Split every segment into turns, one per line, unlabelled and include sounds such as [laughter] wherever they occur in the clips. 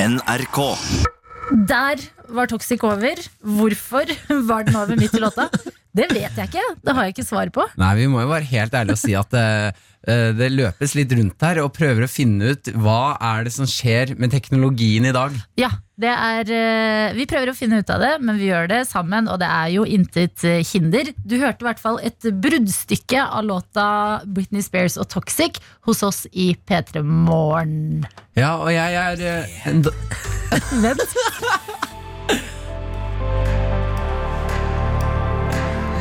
NRK.
Der var Toxic over. Hvorfor [laughs] var den over midt i låta? Det vet jeg ikke. Det har jeg ikke svar på.
Nei, vi må jo være helt ærlige og si at eh, eh, det løpes litt rundt her og prøver å finne ut hva er det som skjer med teknologien i dag.
Ja, det er, eh, Vi prøver å finne ut av det, men vi gjør det sammen, og det er jo intet eh, hinder. Du hørte i hvert fall et bruddstykke av låta Britney Spears og Toxic hos oss i P3 Morgen.
Ja, og jeg er eh, en d-
Vent.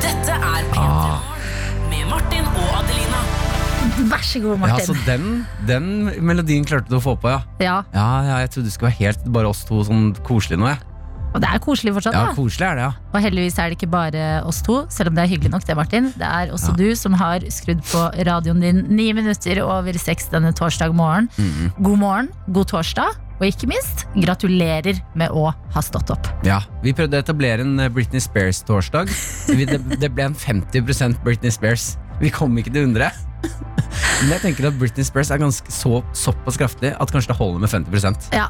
Dette er P3 med Martin og Adelina.
Vær så god,
Ja, så
Martin.
den, den melodien klarte du å få på, ja.
Ja,
Ja, ja, jeg trodde det skulle være helt bare oss to sånn koselig nå, jeg.
Og det er koselig fortsatt,
Ja,
da.
koselig er det, ja.
Og heldigvis er det ikke bare oss to, selv om det er hyggelig nok det, Martin. Det er også du som har skrudd på radioen din ni minutter over seks denne torsdag morgen. God morgen, god torsdag, og ikke minst, gratulerer med å ha stått opp.
ja. Vi prøvde å etablere en eh, Britney Spears-torsdag. Vi- Det, det ble en 50 Britney Spears. Vi kom ikke til 100. Men jeg tenker at Britney Spears er ganske så, såpass kraftig at kanskje det holder med 50
Ja,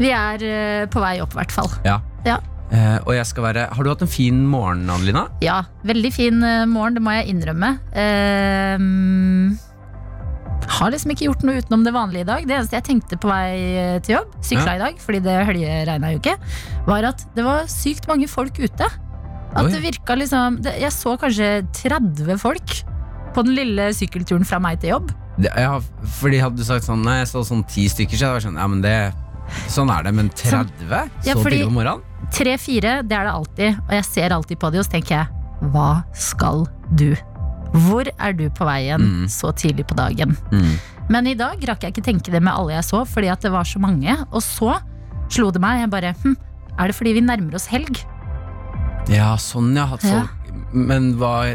vi er eh, på vei opp i hvert fall.
Ja.
Ja.
Eh, og jeg skal være Har du hatt en fin morgen, Adelina?
Ja, veldig fin eh, morgen, det må jeg innrømme. Eh, har liksom ikke gjort noe utenom det vanlige i dag. Det eneste jeg tenkte på vei eh, til jobb, sykla i dag, fordi det høljeregna jo ikke, var at det var sykt mange folk ute. At
Oi.
det virka liksom det, Jeg så kanskje 30 folk på den lille sykkelturen fra meg til jobb.
Det, jeg har, fordi Hadde du sagt sånn Nei, jeg så sånn ti stykker, så hadde jeg vært sånn Ja, men det Sånn er det. Men 30?
Ja,
så
fordi-
tidlig på morgenen?
Tre-fire, det er det alltid, og jeg ser alltid på de, og så tenker jeg hva skal du? Hvor er du på veien
Mm.
så tidlig på dagen?
Mm.
Men i dag rakk jeg ikke tenke det med alle jeg så, fordi at det var så mange. Og så slo det meg, jeg bare hm, Er det fordi vi nærmer oss helg?
Ja, sånn, ja. At
Ja.
folk, Men hva,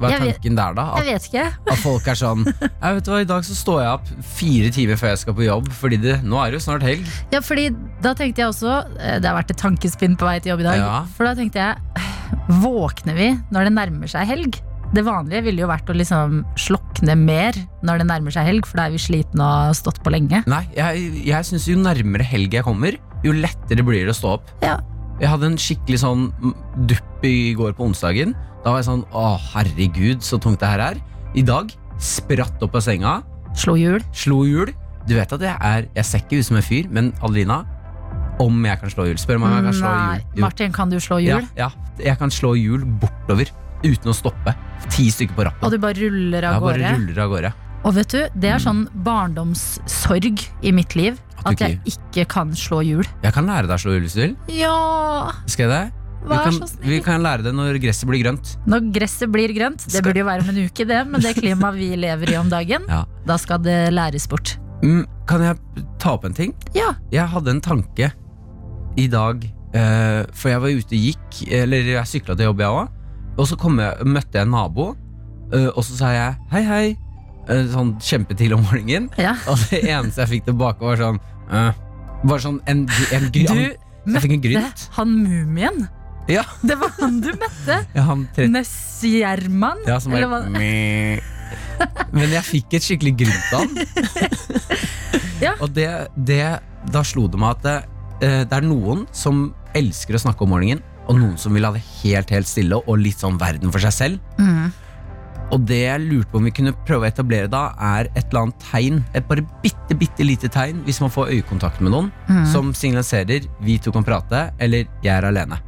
hva er
Jeg vet-
tanken der, da? At
Jeg vet ikke.
At folk er sånn Jeg vet du hva, I dag så står jeg opp fire timer før jeg skal på jobb, Fordi det, nå er det jo snart helg.
Ja, fordi da tenkte jeg også eh, Det har vært et tankespinn på vei til jobb i dag.
Ja.
For da tenkte jeg Våkner vi når det nærmer seg helg? Det vanlige ville jo vært å liksom slokne mer når det nærmer seg helg, for da er vi slitne og har stått på lenge.
Nei, jeg, jeg syns jo nærmere helg jeg kommer, jo lettere blir det å stå opp.
Ja.
Jeg hadde en skikkelig sånn dupp i går på onsdagen. Da var jeg sånn Å, herregud, så tungt det her er. I dag spratt opp av senga,
Slo hjul.
slo hjul. Du vet at jeg er Jeg ser ikke ut som en fyr, men Adelina, om jeg kan slå hjul? Spør meg om jeg kan slå
Nei,
hjul. Jo.
Martin, kan du slå hjul?
Ja, ja, jeg kan slå hjul bortover uten å stoppe. Ti stykker på rappen.
Og du bare ruller av
Jeg bare
gårde?
ruller av gårde.
Og vet du, det er sånn barndomssorg i mitt liv.
Mm. At du
At jeg ikke kan slå hjul.
Jeg kan lære deg å slå hjul hvis du vil.
Ja,
Skal jeg det? Vi
vær
kan,
så snill.
vi kan lære det når gresset blir grønt.
Når gresset blir grønt, det
Skal-
burde jo være om en uke, det, men det klimaet vi lever i om dagen,
Ja.
da skal det læres bort.
Mm, kan jeg ta opp en ting?
Ja.
Jeg hadde en tanke i dag, eh, for jeg var ute og gikk, eller jeg sykla til jobb, jeg òg. Og så kom jeg, møtte jeg en nabo, eh, og så sa jeg hei, hei. eh, sånn kjempetidlig om morgenen.
Ja.
Og det [laughs] eneste jeg fikk tilbake, var sånn eh, Var sånn en, en gry-
Du
Jeg fikk en grynt.
Det- Han mumien.
Ja.
Det var han du
[laughs]
møtte.
Ja, han tre-
Nesjerman.
Ja, som
Eller
bare
hva-
meh. Men jeg fikk et skikkelig grynt av den.
Ja.
Og det, det Da slo det meg at det, eh, det er noen som elsker å snakke om morgenen, og noen som vil ha det helt, helt stille og litt sånn verden for seg selv.
Mm.
Og det jeg lurte på om vi kunne prøve å etablere da, er et eller annet tegn. Et bare bitte, bitte lite tegn hvis man får øyekontakt med noen,
Mm.
som signaliserer 'vi to kan prate', eller 'jeg er alene'.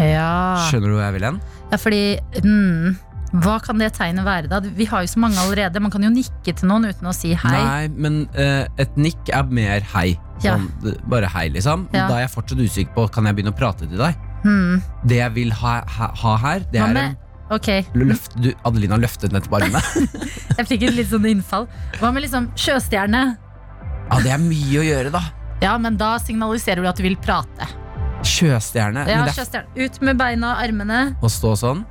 Ja.
Skjønner du hvor jeg vil hen?
ja, fordi mm, Hva kan det tegnet være, da? Vi har jo så mange allerede. Man kan jo nikke til noen uten å si hei.
Nei, men eh, et nikk er mer hei.
Ja.
Sånn, d- bare hei, liksom.
Ja.
Da er jeg fortsatt usikker på Kan jeg begynne å prate til deg.
Mm.
Det jeg vil ha, ha, ha her, det
Hva
er en
med- Ok,
løft, du, Adelina løftet nettopp
[laughs]
armene.
Jeg fikk et litt sånn innfall. Hva med liksom sjøstjerne?
Ja, det er mye å gjøre, da.
Ja, men da signaliserer du at du vil prate.
Sjøstjerne.
Ja,
men det er
sjøstjerne. Ut med beina og armene.
f- å stå sånn.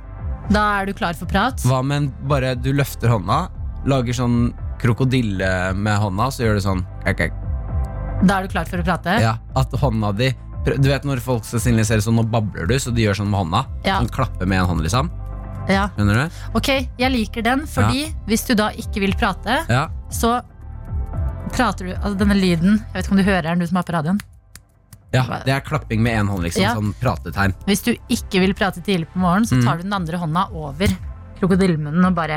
Da er du klar for prat.
Hva med en bare du løfter hånda, lager sånn krokodille med hånda, så gjør du sånn kak, kak.
Da er du klar for å prate.
Ja, At hånda di prø- Du vet når folk skal signalisere sånn, nå babler du, så de gjør sånn med hånda.
Ja.
Sånn klapper med en hånd, liksom.
Ja.
Skjønner du?
Ok, jeg liker den, fordi hvis du da ikke vil prate,
Ja.
så prater du, altså denne lyden Jeg vet ikke om du hører den, du som har på radioen.
Ja, Det er klapping med én hånd, liksom.
Ja.
Sånn pratetegn.
Hvis du ikke vil prate tidlig på morgenen, så
Mm.
tar du den andre hånda over krokodillemunnen og
[laughs]
bare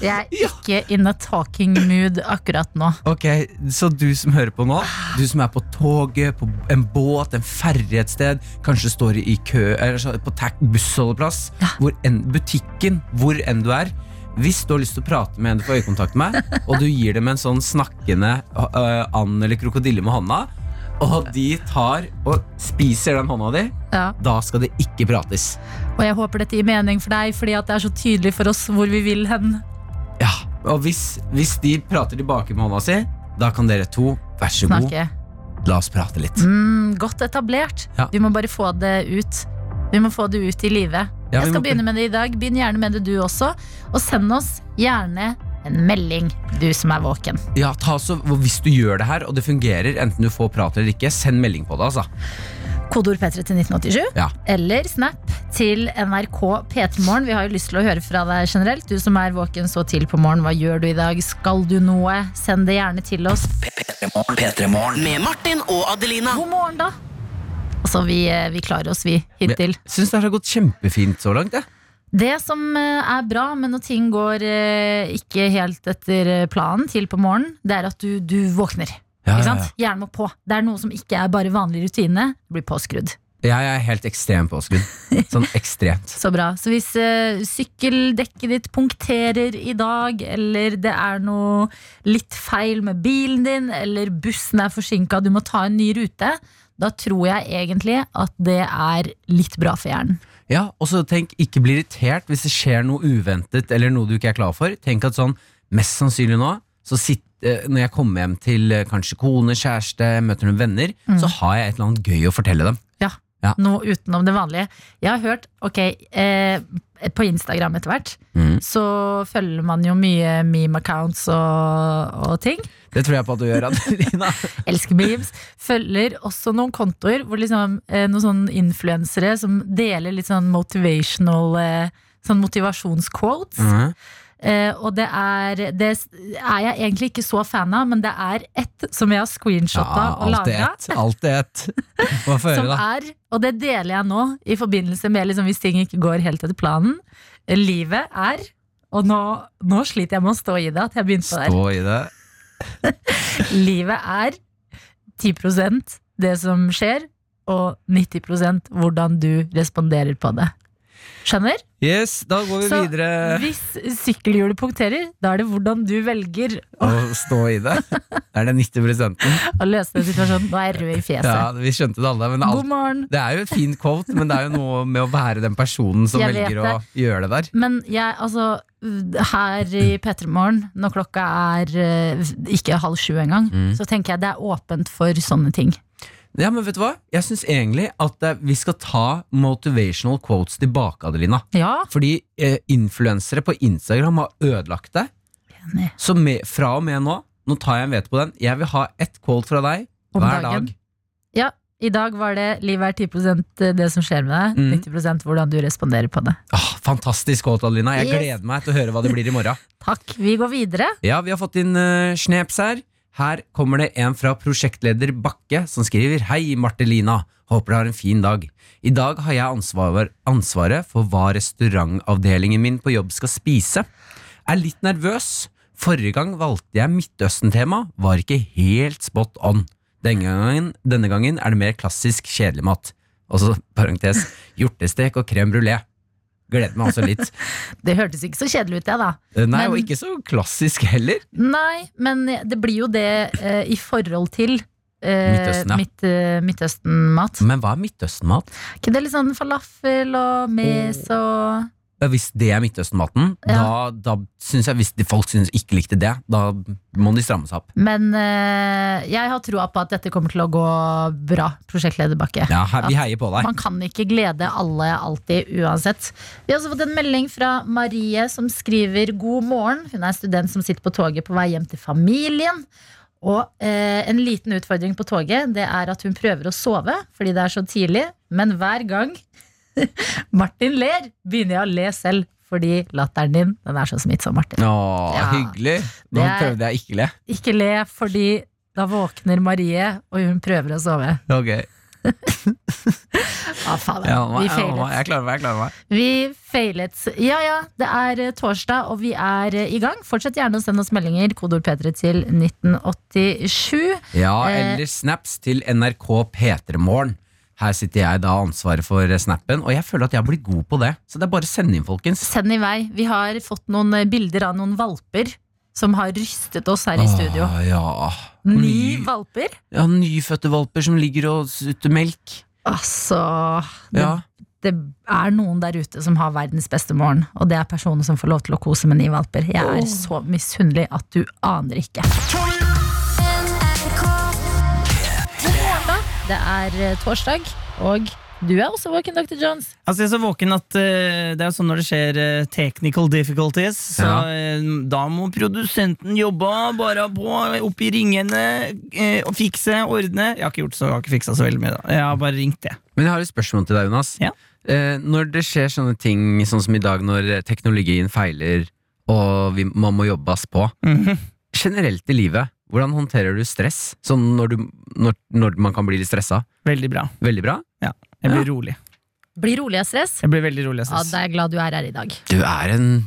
Jeg er ikke in a talking mood akkurat nå.
Ok, Så du som hører på nå, du som er på toget, på en båt, en ferge et sted, kanskje står i kø eller så- på tak- bussholdeplass, hvor enn, butikken, hvor enn du er. Hvis du har lyst til å prate med en du får øyekontakt med,
[laughs]
og du gir dem en sånn snakkende øh, and eller krokodille med hånda, og de tar og spiser den hånda di,
Ja.
da skal det ikke prates.
Og jeg håper dette gir mening for deg, fordi at det er så tydelig for oss hvor vi vil hen.
Ja, Og hvis, hvis de prater tilbake med hånda si, da kan dere to, vær så god,
Snakke.
la oss prate litt.
Mm, godt etablert.
Ja.
Vi må bare få det ut. Vi må få det ut i live.
Ja, vi
jeg
må-
skal begynne med det i dag. Begynn gjerne med det du også. Og send oss gjerne en melding, du som er våken.
Ja, ta så, Hvis du gjør det her, og det fungerer, enten du får prat eller ikke, send melding på det. altså
Kodeord P3 til 1987.
Ja.
Eller snap til NRK P3morgen. Vi har jo lyst til å høre fra deg generelt. Du som er våken så til på morgen, hva gjør du i dag? Skal du noe? Send det gjerne til oss.
Med Martin og Adelina.
God morgen, da! Ah. Altså, vi, eh, vi klarer oss, vi, hittil.
Jeg syns det her har gått kjempefint så langt. Jeg.
Det som eh, er bra, men når ting går eh, ikke helt etter eh, planen til på morgenen, det er at du, du våkner.
Ja,
ikke
ja,
sant? Hjernen må på. Det er noe som ikke er bare vanlig rutine. Du blir påskrudd.
Jeg er helt ekstrem påskudd.
[laughs]
Sånn ekstremt.
Så bra. Så hvis eh, sykkeldekket ditt punkterer i dag, eller det er noe litt feil med bilen din, eller bussen er forsinka, du må ta en ny rute, da tror jeg egentlig at det er litt bra for hjernen.
Ja, og så tenk, Ikke bli irritert hvis det skjer noe uventet eller noe du ikke er klar for. Tenk at sånn, Mest sannsynlig nå, så sitt, eh, når jeg kommer hjem til eh, kanskje kone, kjæreste, møter noen venner,
Mm.
så har jeg et eller annet gøy å fortelle dem.
Ja,
Ja.
noe utenom det vanlige. Jeg har hørt, ok, eh, på Instagram etter hvert,
Mhm.
så følger man jo mye meme accounts og, og ting.
Det tror jeg på at du gjør,
[laughs]
Adelina.
Elsker
[laughs]
memes. Følger også noen kontoer hvor liksom, eh, noen sånne influensere som deler litt sånn motivational eh, Sånn motivasjonsquotes.
Mhm.
Eh, og det er Det s- er jeg egentlig ikke så fan av, men det er ett som jeg har screenshotta og
alltid
lagra.
ett. Alltid ett.
[laughs]
Hva får jeg
Som
høre, da?
er, og det deler jeg nå i forbindelse med liksom, hvis ting ikke går helt etter planen. eh, Livet er Og nå, nå sliter jeg med å stå i det, at jeg begynte på det. her.
Stå i det.
Livet er 10 det som skjer, og 90 hvordan du responderer på det. Skjønner?
Yes, da går vi
Så
videre
hvis sykkelhjulet punkterer, da er det hvordan du velger
og stå i det. Det er den 90
å løse den situasjonen. Nå er jeg rød i fjeset.
Ja, Vi skjønte det alle. Men
God
alt,
morgen.
det er jo et fint quote, men det er jo noe med å være den personen som
Jeg vet
velger å gjøre det der.
Men jeg, altså her i Petremorgen, når klokka er eh, ikke halv sju engang,
Mm.
så tenker jeg det er åpent for sånne ting.
Ja, men vet du hva? Jeg syns egentlig at eh, vi skal ta motivational quotes tilbake, Adelina.
Ja,
Fordi eh, influensere på Instagram har ødelagt det.
enig.
Så med, fra og med nå, nå tar jeg en veto på den, jeg vil ha ett quote fra deg
Om
hver
dagen.
dag.
Ja, i dag var det 'livet er 10 det som skjer med
Mm.
deg', 90 hvordan du responderer på det.
Åh, Ah, fantastisk quote, Adelina. Jeg
Yes.
gleder meg til å høre hva det blir i morgen.
Takk. Vi går videre.
[laughs] Ja, vi har fått inn uh, sneps her. Her kommer det en fra prosjektleder Bakke som skriver Hei, Martelina. Håper du har en fin dag. I dag har jeg ansvar, ansvaret for hva restaurantavdelingen min på jobb skal spise. Er litt nervøs. Forrige gang valgte jeg Midtøsten-tema, var ikke helt spot on. Denne gangen, denne gangen er det mer klassisk kjedelig mat. Og så parentes hjortestek og crème brulé. Gleder meg altså litt.
Det hørtes ikke så kjedelig ut, det, da.
Eh, Nei,
Men-
og ikke så klassisk heller.
Nei, men det blir jo det eh, i forhold til eh,
Midtøsten, ja. Mm.
midt, eh, Midtøsten-mat.
Men hva er Midtøsten-mat?
Er ikke det litt sånn falafel og mes
Oh.
og
Ja, Hvis det er Midtøsten-maten,
Ja.
da, da synes jeg Hvis de folk synes ikke likte det, da må de stramme seg opp.
Men eh, jeg har troa på at dette kommer til å gå bra, prosjektleder Bakke.
Ja, he, Vi heier på deg.
Man kan ikke glede alle alltid, uansett. Vi har også fått en melding fra Marie som skriver god morgen. Hun er student som sitter på toget på vei hjem til familien. Og eh, en liten utfordring på toget Det er at hun prøver å sove fordi [laughs] det er så tidlig. Men hver gang Martin ler, begynner jeg å le selv. fordi latteren din den er så smittsom, Martin.
Å,
Ja.
hyggelig.
Det
Nå
er-
prøvde jeg ikke le.
Ikke le, fordi da våkner Marie, og hun prøver å sove.
Ok.
Ja, faen,
Ja, nå-
vi
ja, nå-
feilet.
jeg klarer meg. jeg klarer meg
Vi feilet. Ja ja, det er eh, torsdag, og vi er eh, i gang. Fortsett gjerne å sende oss meldinger. Kodord P3 til 1987.
Ja,
Eh.
Eller snaps til NRK P3morgen. Her sitter jeg da ansvaret for snappen, og jeg føler at jeg blir god på det. Så det er bare å sende inn, folkens.
Send i vei. Vi har fått noen eh, bilder av noen valper som har rystet oss her i studio.
Åh, ja.
Ni valper.
ja, nyfødte valper som ligger og sutter melk.
Altså det,
Ja.
det er noen der ute som har verdens beste morgen, og det er personer som får lov til å kose med ni valper. Jeg er så misunnelig at du aner ikke. Det er eh, torsdag, og du er også våken, Dr. Jones.
Altså, jeg er så våken at eh, det er jo sånn når det skjer eh, technical difficulties, så
Ja.
eh, da må produsenten jobbe, bare på, opp i ringene, eh, og fikse, ordne. Jeg har ikke gjort så, jeg har ikke fiksa så veldig mye, da. Jeg har bare ringt, jeg.
Men jeg har et spørsmål til deg, Jonas.
Ja.
Eh, når det skjer sånne ting sånn som i dag, når teknologien feiler og vi, man må jobbes på,
Mhm.
generelt i livet, hvordan håndterer du stress? Sånn når, du, når, når man kan bli litt stressa.
Veldig bra.
Veldig bra.
Jeg blir rolig.
Blir rolig av stress.
Jeg blir veldig rolig, jeg
Ja,
synes.
da er jeg glad du er her i dag.
Du er en,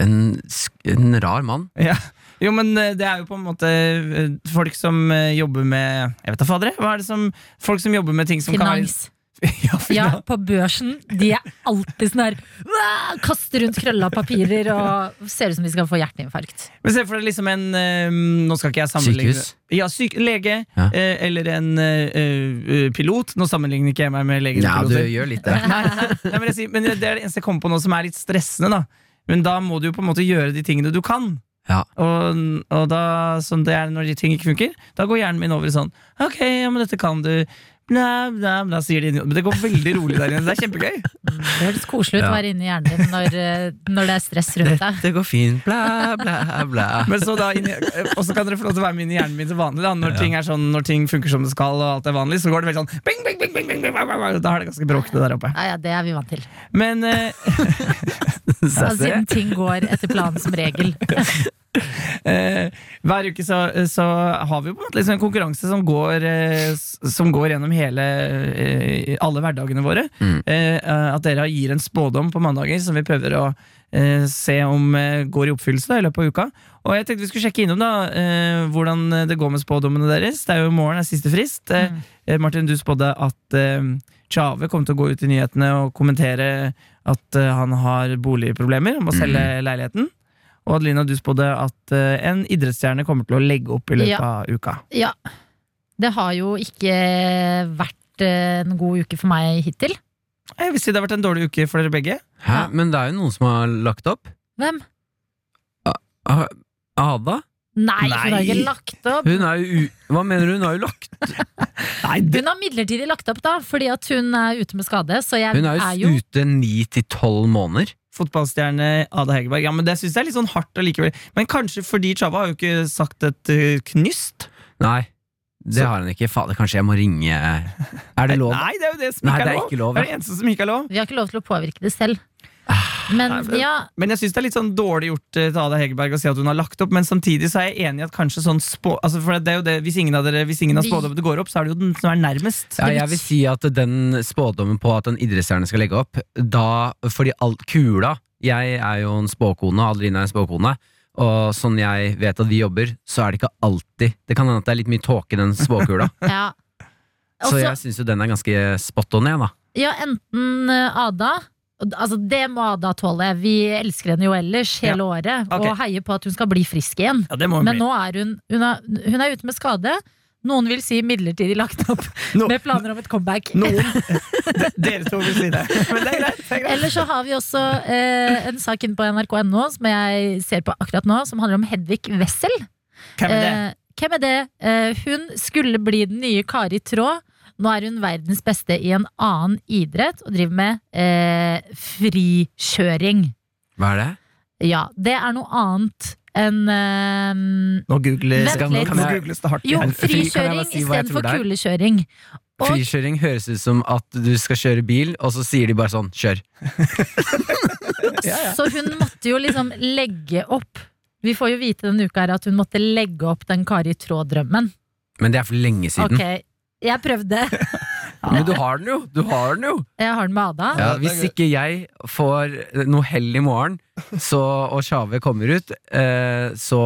en, sk- en rar mann.
Ja. Jo, men eh, det er jo på en måte eh, folk som eh, jobber med Jeg vet da fader, jeg. hva er det som Folk som jobber med ting som
Finans.
kan være [laughs] Ja,
Ja,
finans.
på børsen. De er alltid sånn her «Wow!» Kaster rundt krølla papirer og ser ut som de skal få hjerteinfarkt.
Men se for deg liksom en eh, Nå skal ikke jeg sammenligne
Sykehus?
Ja, syk, lege
Ja.
eh, eller en eh, eh, pilot. Nå sammenligner ikke jeg meg med leger
Ja,
og
du
piloter.
gjør litt det.
[laughs] Nei, nei, men, jeg sier, men det er det eneste jeg kommer på nå som er litt stressende, da. Men da må du jo på en måte gjøre de tingene du kan.
Ja.
Og, og da, som det er når de ting ikke funker, da går hjernen min over i sånn Ok, ja, men dette kan du. Bla, bla, bla, sier de. Men det går veldig rolig der inne. Det er kjempegøy.
Det høres koselig ut
Ja.
å være inni hjernen din når, eh, når det er stress rundt deg.
Det går fint, bla, bla, bla.
Men så da inni- Og så kan dere få lov til å være med inn i hjernen min til vanlig. Da. Når, ting er sånn, når ting funker som det skal, og alt er vanlig, så går det veldig sånn bing, bing, bing, bing, bing, bing, bing, bing. Da er det ganske bråkete der oppe.
Ja, ja, det er vi
[laughs]
vant til.
Men eh,
Ja, Altså, siden ting går etter planen som
[laughs]
regel.
Eh, hver uke så, så har vi jo på en måte liksom en konkurranse som går, eh, s- som går gjennom hele, eh, alle hverdagene våre.
Mm.
Eh, eh, at dere gir en spådom på mandager som vi prøver å eh, se om eh, går i oppfyllelse da, i løpet av uka. Og jeg tenkte vi skulle sjekke innom da, eh, hvordan det går med spådommene deres. Det er jo i morgen er siste frist. Eh,
Mm.
eh, Martin, du spådde at eh, Tjave kom til å gå ut i nyhetene og kommentere at eh, han har boligproblemer, om å selge
Mm.
leiligheten. Og Adelina, du spådde at eh, en idrettsstjerne kommer til å legge opp i løpet
Ja.
av uka.
Ja. Det har jo ikke vært eh, en god uke for meg hittil.
Jeg vil si det har vært en dårlig uke for dere begge.
Hæ? Men det er jo noen som har lagt opp.
Hvem?
Ah, Ada?
Nei,
Nei.
hun har ikke lagt opp.
Hun er jo u... Hva mener du? Hun har jo lagt
Nei,
Hun har midlertidig lagt opp, da, fordi at hun er ute med skade. Så jeg
Hun er jo,
er jo
ute ni til tolv måneder.
Fotballstjerne Ada Hegerberg. Ja, men Det syns jeg er litt sånn hardt allikevel. Men kanskje fordi Chava har jo ikke sagt et eh, knyst.
Nei, det
Så-
har hun ikke. Fader, kanskje jeg må ringe Er det lov?
Nei, det er jo det som
Nei, det
ikke er
er
lov.
ikke lov.
Det er det eneste som ikke er lov.
Vi har ikke lov til å påvirke det selv. Men
Ah,
Nei, men-
ja,
Men jeg syns det er litt sånn dårlig gjort eh, til Ada Hegerberg å si at hun har lagt opp, men samtidig så er jeg enig i at kanskje sånn spå... Altså for det er jo det, hvis ingen av dere, hvis ingen av
Vi-
spådommene går opp, så er det jo den som er nærmest.
Ja, jeg vil si at den spådommen på at en idrettsstjerne skal legge opp Da, fordi all, kula Jeg er jo en spåkone, Adelina er en spåkone Og sånn jeg vet at vi jobber Så er det ikke alltid Det kan hende at det er litt mye tåke i
[laughs]
den spåkula
ja.
[laughs] Så
Også-
jeg synes jo den er ganske spot on jeg da
Ja, enten eh, Ada og d- Altså Det må Ada tåle. Vi elsker henne jo ellers hele året
Ok.
og heier på at hun skal bli frisk igjen.
Ja, det må hun
Men
bli.
nå er hun hun er, hun er ute med skade. Noen vil si midlertidig lagt opp
No-
med planer om et comeback.
Noen [laughs] Dere to vil si det. Men det er greit. Det er greit.
Eller så har vi også eh, en sak inne på nrk.no som jeg ser på akkurat nå, som handler om Hedvig Wessel.
Hvem er det?
Eh, hvem er det? Eh, hun skulle bli den nye Kari Traa. Nå er hun verdens beste i en annen idrett og driver med eh, frikjøring.
Hva er det?
Ja, det er noe annet enn eh,
Nå googles,
Vent litt.
nå googles det hardt.
Jo,
igjen.
fri- kan jeg
frikjøring
bare si hva jeg tror
istedenfor
det er?
kulekjøring. Og-
Frikjøring høres ut som at du skal kjøre bil Og så sier de bare sånn, kjør
Ja, ja.
Så hun måtte jo liksom legge opp. Vi får jo vite denne uka her at hun måtte legge opp den Kari Traa-drømmen.
Men det er for lenge siden.
Ok, jeg prøvde.
Men du har den jo! Du har den jo.
Jeg har den med Ada.
Ja,
det er
hvis
gøy.
ikke jeg får noe hell i morgen, så, og Tjave kommer ut, eh, så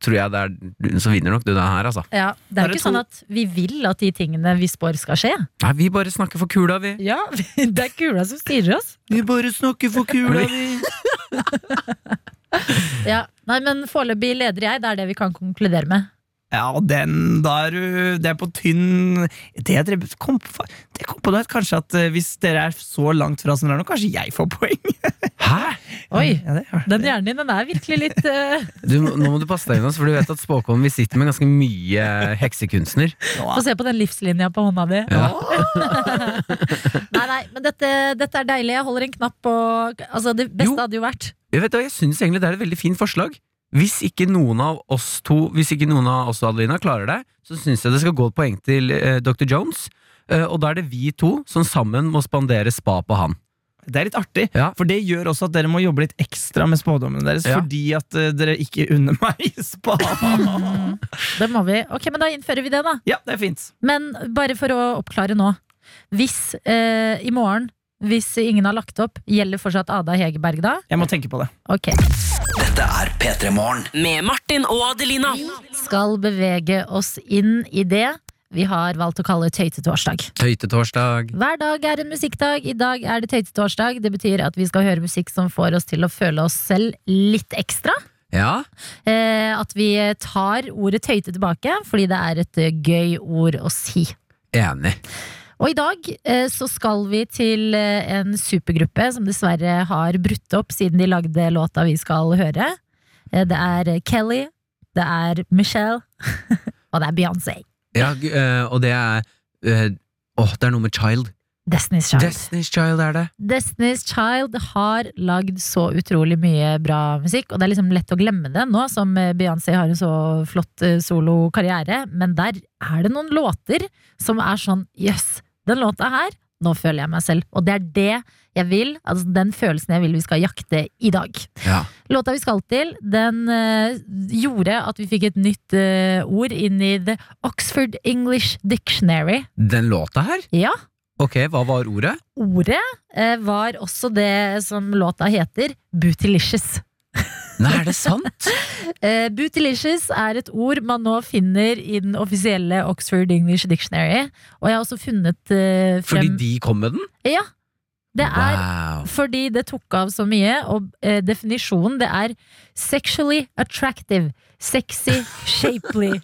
tror jeg det er Så vinner nok du den her, altså.
Ja, det er
Bare
jo ikke
to-
sånn at vi vil at de tingene vi spår skal skje.
Nei, vi bare snakker for kula, vi.
Ja, [laughs] Det er kula som styrer oss.
Vi bare snakker for kula, vi.
Ja, Nei, men foreløpig leder jeg. Det er det vi kan konkludere med.
Ja, og den da er du Det er på tynn Det jeg drev- kom på, fa- det kom på nå, at kanskje at eh, hvis dere er så langt fra som dere er nå, kanskje jeg får poeng.
Hæ?
Oi,
Ja, det, ja.
den hjernen din den er virkelig litt eh,
Du, nå må du passe deg unna, for du vet at Spåkon vi sitter med ganske mye heksekunstner.
Få se på den livslinja på hånda di. [laughs] nei, nei, men dette, dette er deilig. Jeg holder en knapp på Altså, det beste
Jo.
hadde jo vært
Jeg, vet, hva, jeg synes egentlig det er et veldig fint forslag. Hvis ikke noen av oss to Hvis ikke noen av oss to, Adelina klarer det, så syns jeg det skal gå et poeng til eh, Dr. Jones. Eh, og da er det vi to som sammen må spandere spa på han.
det er litt artig,
Ja.
for det gjør også at dere må jobbe litt ekstra med spådommene deres,
Ja.
fordi at eh, dere ikke unner meg [laughs] spa.
[laughs] Det må vi. Ok, men da innfører vi det, da.
Ja, det er fint.
Men bare for å oppklare nå. Hvis eh, i morgen, hvis ingen har lagt opp, gjelder fortsatt Ada Hegerberg da?
Jeg må tenke på det.
Ok.
Med Martin og Adelina.
Skal bevege oss inn i det vi har valgt å kalle tøytetorsdag.
Tøytetorsdag.
Hver dag er en musikkdag. I dag er det tøytetorsdag. Det betyr at vi skal høre musikk som får oss til å føle oss selv litt ekstra.
Ja.
Eh, at vi tar ordet tøyte tilbake, fordi det er et eh, gøy ord å si.
Enig.
Og i dag eh, så skal vi til eh, en supergruppe som dessverre har brutt opp siden de lagde låta vi skal høre. Eh, Det er eh, Kelly, det er Michelle, [laughs] og det er Beyoncé.
Ja, g- eh, og det er eh, Åh, det er noe med Child.
Destiny's Child.
Destiny's Child er det.
Destiny's Child har lagd så utrolig mye bra musikk, og det er liksom lett å glemme det nå som eh, Beyoncé har en så flott eh, solokarriere, men der er det noen låter som er sånn jøss, den låta her, nå føler jeg meg selv. Og det er det jeg vil, altså den følelsen jeg vil vi skal jakte i dag.
Ja.
Låta vi skal til, den eh, gjorde at vi fikk et nytt eh, ord inn i The Oxford English Dictionary.
Den låta her?
Ja,
Ok, hva var ordet?
ordet eh, var også det som låta heter, bootylicious.
Nei, er det
[laughs]
sant?
Eh, bootylicious er et ord man nå finner i den offisielle Oxford English Dictionary. Og jeg har også funnet eh,
Fordi
frem
de kom med den?
Ja, det er
Wow.
fordi det tok av så mye, og eh, definisjonen det er sexually attractive, sexy, shapely.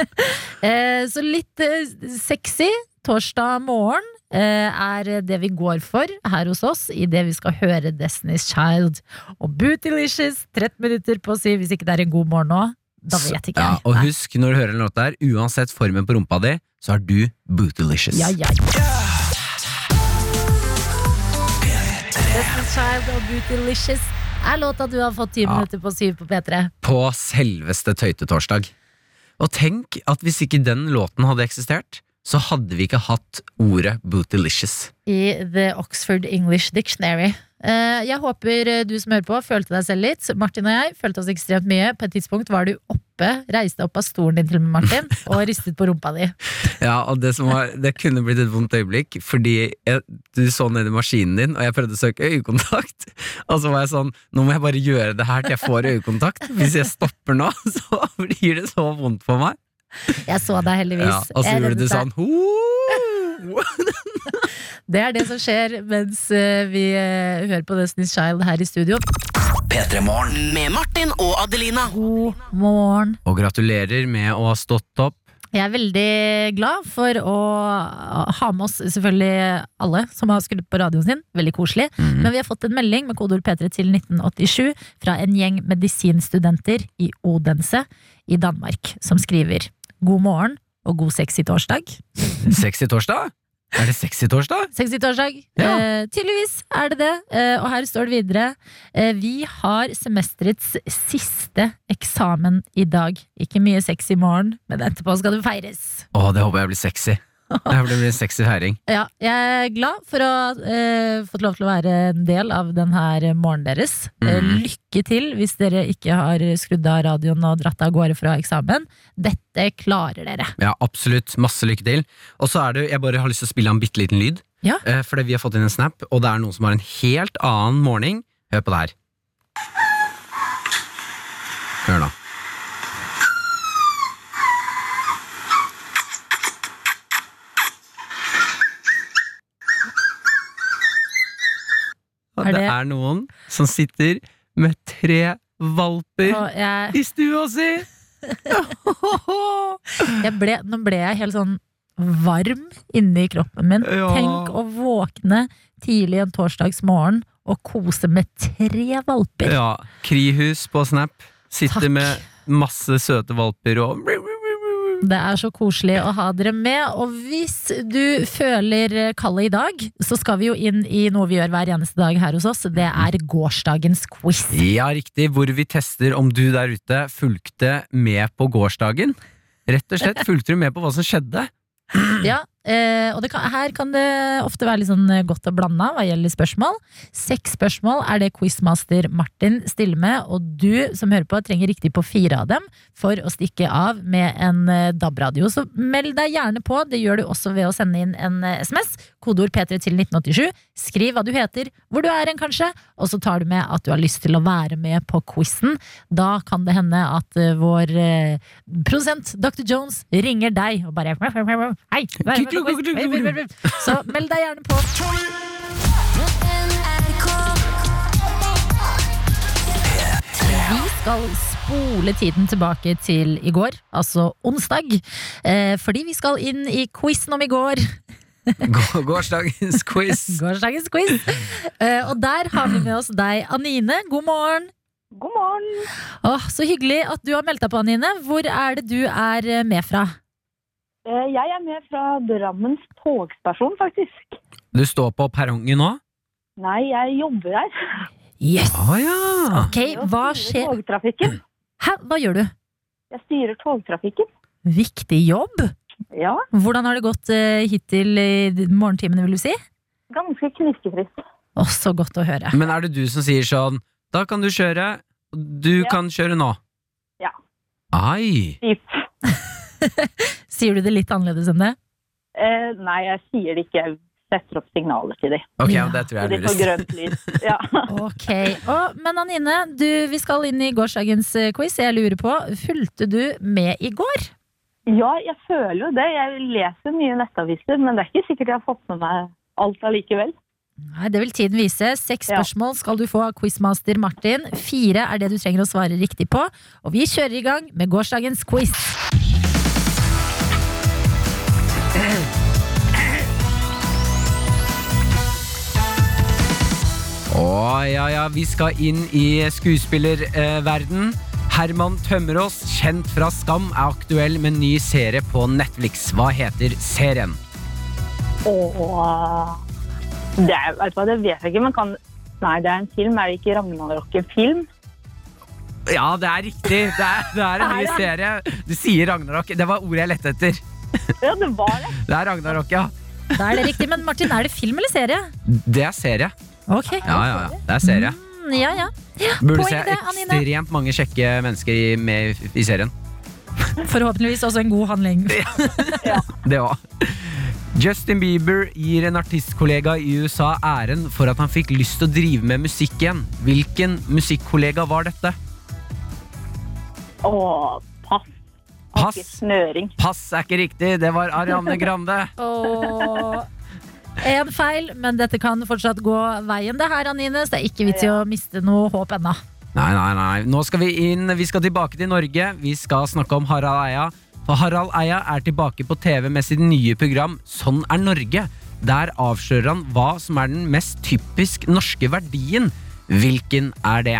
[laughs] eh, så litt eh, sexy torsdag morgen eh, er det vi går for her hos oss i det vi skal høre Destiny's Child og Bootylicious 13 minutter på å si hvis ikke det er en god morgen nå. Da vet ikke
Ja,
jeg.
og
Nei.
husk, når du hører en låt der, uansett formen på rumpa di, så er du bootylicious.
Ja, ja. Destiny's Child og Bootylicious er låta du har fått ti minutter på syv på P3.
På selveste tøytetorsdag. Og tenk at hvis ikke den låten hadde eksistert, så hadde vi ikke hatt ordet bootylicious.
I The Oxford English Dictionary. Eh, Jeg håper eh, du som hører på, følte deg selv litt. Martin og jeg følte oss ekstremt mye. På et tidspunkt var du oppe, reiste deg opp av stolen din til og med,
[laughs]
Martin, og ristet på rumpa di.
Ja, og det, som var, det kunne blitt et vondt øyeblikk, fordi jeg, du så ned i maskinen din, og jeg prøvde å søke øyekontakt. Og så var jeg sånn, nå må jeg bare gjøre det her til jeg får øyekontakt. Hvis jeg stopper nå, [laughs] så blir det så vondt for meg.
Jeg så deg heldigvis.
Ja, og så
Jeg
gjorde du
reddet deg.
sånn, ho!
Det er det som skjer mens eh, vi eh, hører på Destiny's Child her i studio.
Med Martin og Adelina.
God morgen.
Og gratulerer med å ha stått opp.
Jeg er veldig glad for å ha med oss selvfølgelig alle som har skrudd på radioen sin. Veldig koselig. Men vi har fått en melding med kodeord P3 til 1987 fra en gjeng medisinstudenter i Odense i Danmark, som skriver God morgen og god sexy torsdag.
Sexy torsdag? Er det sexy torsdag?
Sexy torsdag.
Ja.
Eh, tydeligvis er det det. Eh, og her står det videre. Eh, vi har semesterets siste eksamen i dag. Ikke mye sex i morgen, men etterpå skal det feires.
Å, det håper jeg blir sexy. Det her blir en sexy feiring.
Ja, jeg er glad for å ha eh, fått lov til å være en del av denne morgenen deres. Eh,
Mhm.
lykke til hvis dere ikke har skrudd av radioen og dratt av gårde fra eksamen. Dette klarer dere.
Ja, absolutt. Masse lykke til. Og så er det, jeg bare har lyst til å spille av en bitte liten lyd.
Ja.
Eh, fordi vi har fått inn en snap, og det er noen som har en helt annen morgen. Hør på det her. Hør nå. Og
Er
det
det-
er noen som sitter med tre valper
Og jeg,
i stua si!
jeg ble, nå ble jeg helt sånn varm inni kroppen min.
Ja.
Tenk å våkne tidlig en torsdagsmorgen og kose med tre valper.
Ja, Krihus på Snap. Sitter
Takk.
med masse søte valper og
Det er så koselig å ha dere med. Og hvis du føler kallet i dag, så skal vi jo inn i noe vi gjør hver eneste dag her hos oss. Det er gårsdagens quiz.
Ja, riktig. Hvor vi tester om du der ute fulgte med på gårsdagen. Rett og slett fulgte du med på hva som skjedde.
Ja, eh, og det kan, her kan det ofte være litt sånn eh, godt og blanda hva gjelder spørsmål. Seks spørsmål er det quizmaster Martin stiller med, og du som hører på trenger riktig på fire av dem for å stikke av med en eh, DAB-radio. Så meld deg gjerne på, det gjør du også ved å sende inn en eh, SMS, kodeord P3 til 1987. Skriv hva du heter, hvor du er hen kanskje, og så tar du med at du har lyst til å være med på quizen. Da kan det hende at eh, vår eh, Produsent Dr. Jones ringer deg og bare Hei! vær med på quiz. Vær, vær, vær, vær. Så meld deg gjerne på. Vi skal spole tiden tilbake til i går, altså onsdag. Eh, fordi vi skal inn i quizen om i går.
Gå- Gårsdagens quiz.
Gårsdagens quiz. Eh, og der har vi med oss deg, Anine. God morgen.
God morgen.
Åh, så hyggelig at du har meldt deg på, Anine. Hvor er det du er eh, med fra?
Eh, Jeg er med fra Drammens togstasjon, faktisk.
Du står på perrongen nå?
Nei, jeg jobber her.
Yes!
Å ja!
Ok, hva
Jeg styrer
skjer?
Togtrafikken.
Hæ, hva gjør du?
Jeg styrer togtrafikken.
Viktig jobb.
Ja,
Hvordan har det gått eh, hittil i d- morgentimene, vil du si?
ganske knirkefritt.
Åh, så godt å høre.
Men er det du som sier sånn Da kan du kjøre. Du
Ja.
kan kjøre nå.
Ja.
Ai!
Typ.
Sier du det litt annerledes enn det?
Eh, Nei, jeg sier det ikke. Jeg setter opp signaler til dem.
Ok,
Ja.
det tror
Så
jeg
de
er
får
lurest.
grønt lys.
[laughs]
Ja.
Ok. Åh, men Anine, du, vi skal inn i gårsdagens eh, quiz. Jeg lurer på, fulgte du med i går?
ja, jeg føler jo det. Jeg leser mye nettaviser, men det er ikke sikkert jeg har fått med meg alt allikevel.
Nei, det vil tiden vise. Seks
Ja.
spørsmål skal du få av quizmaster Martin. Fire er det du trenger å svare riktig på. Og vi kjører i gang med gårsdagens quiz.
Å, ja, ja, vi skal inn i skuespillerverden. Herman Tømmerås, kjent fra Skam, er aktuell med en ny serie på Netflix. Hva heter serien?
Og det, er- vet du hva, det vet jeg ikke, men kan Nei, det er en film. Er det ikke Ragnarok en film?
Ja, det er riktig! Det er, det er en ny serie. Du sier Ragnarok. Det var ordet jeg lette etter.
Ja, det var det.
Det er Ragnarok, ja.
Da er det riktig. Men Martin, er det film eller serie?
Det er serie.
Ok.
Ja, ja, ja. Det er serie.
Mm, ja, ja.
Burde
Poeng
se
det, Anine.
ekstremt mange kjekke mennesker i, med i- i serien.
Forhåpentligvis også en god handling.
Det òg. Justin Bieber gir en artistkollega i USA æren for at han fikk lyst til å drive med musikk igjen. Hvilken musikkollega var dette?
Åh, pass.
Pass.
Ikke snøring.
Pass er ikke riktig, det var Ariane Grande.
Åh. En feil, men dette kan fortsatt gå veien, det her, Anine. Så det er ikke vits i å miste noe håp ennå.
Nei, nei, nei. Nå skal vi inn, vi skal tilbake til Norge. Vi skal snakke om Harald Eia. For Harald Eia er tilbake på TV med sitt nye program Sånn er Norge. Der avslører han hva som er den mest typisk norske verdien. Hvilken er det?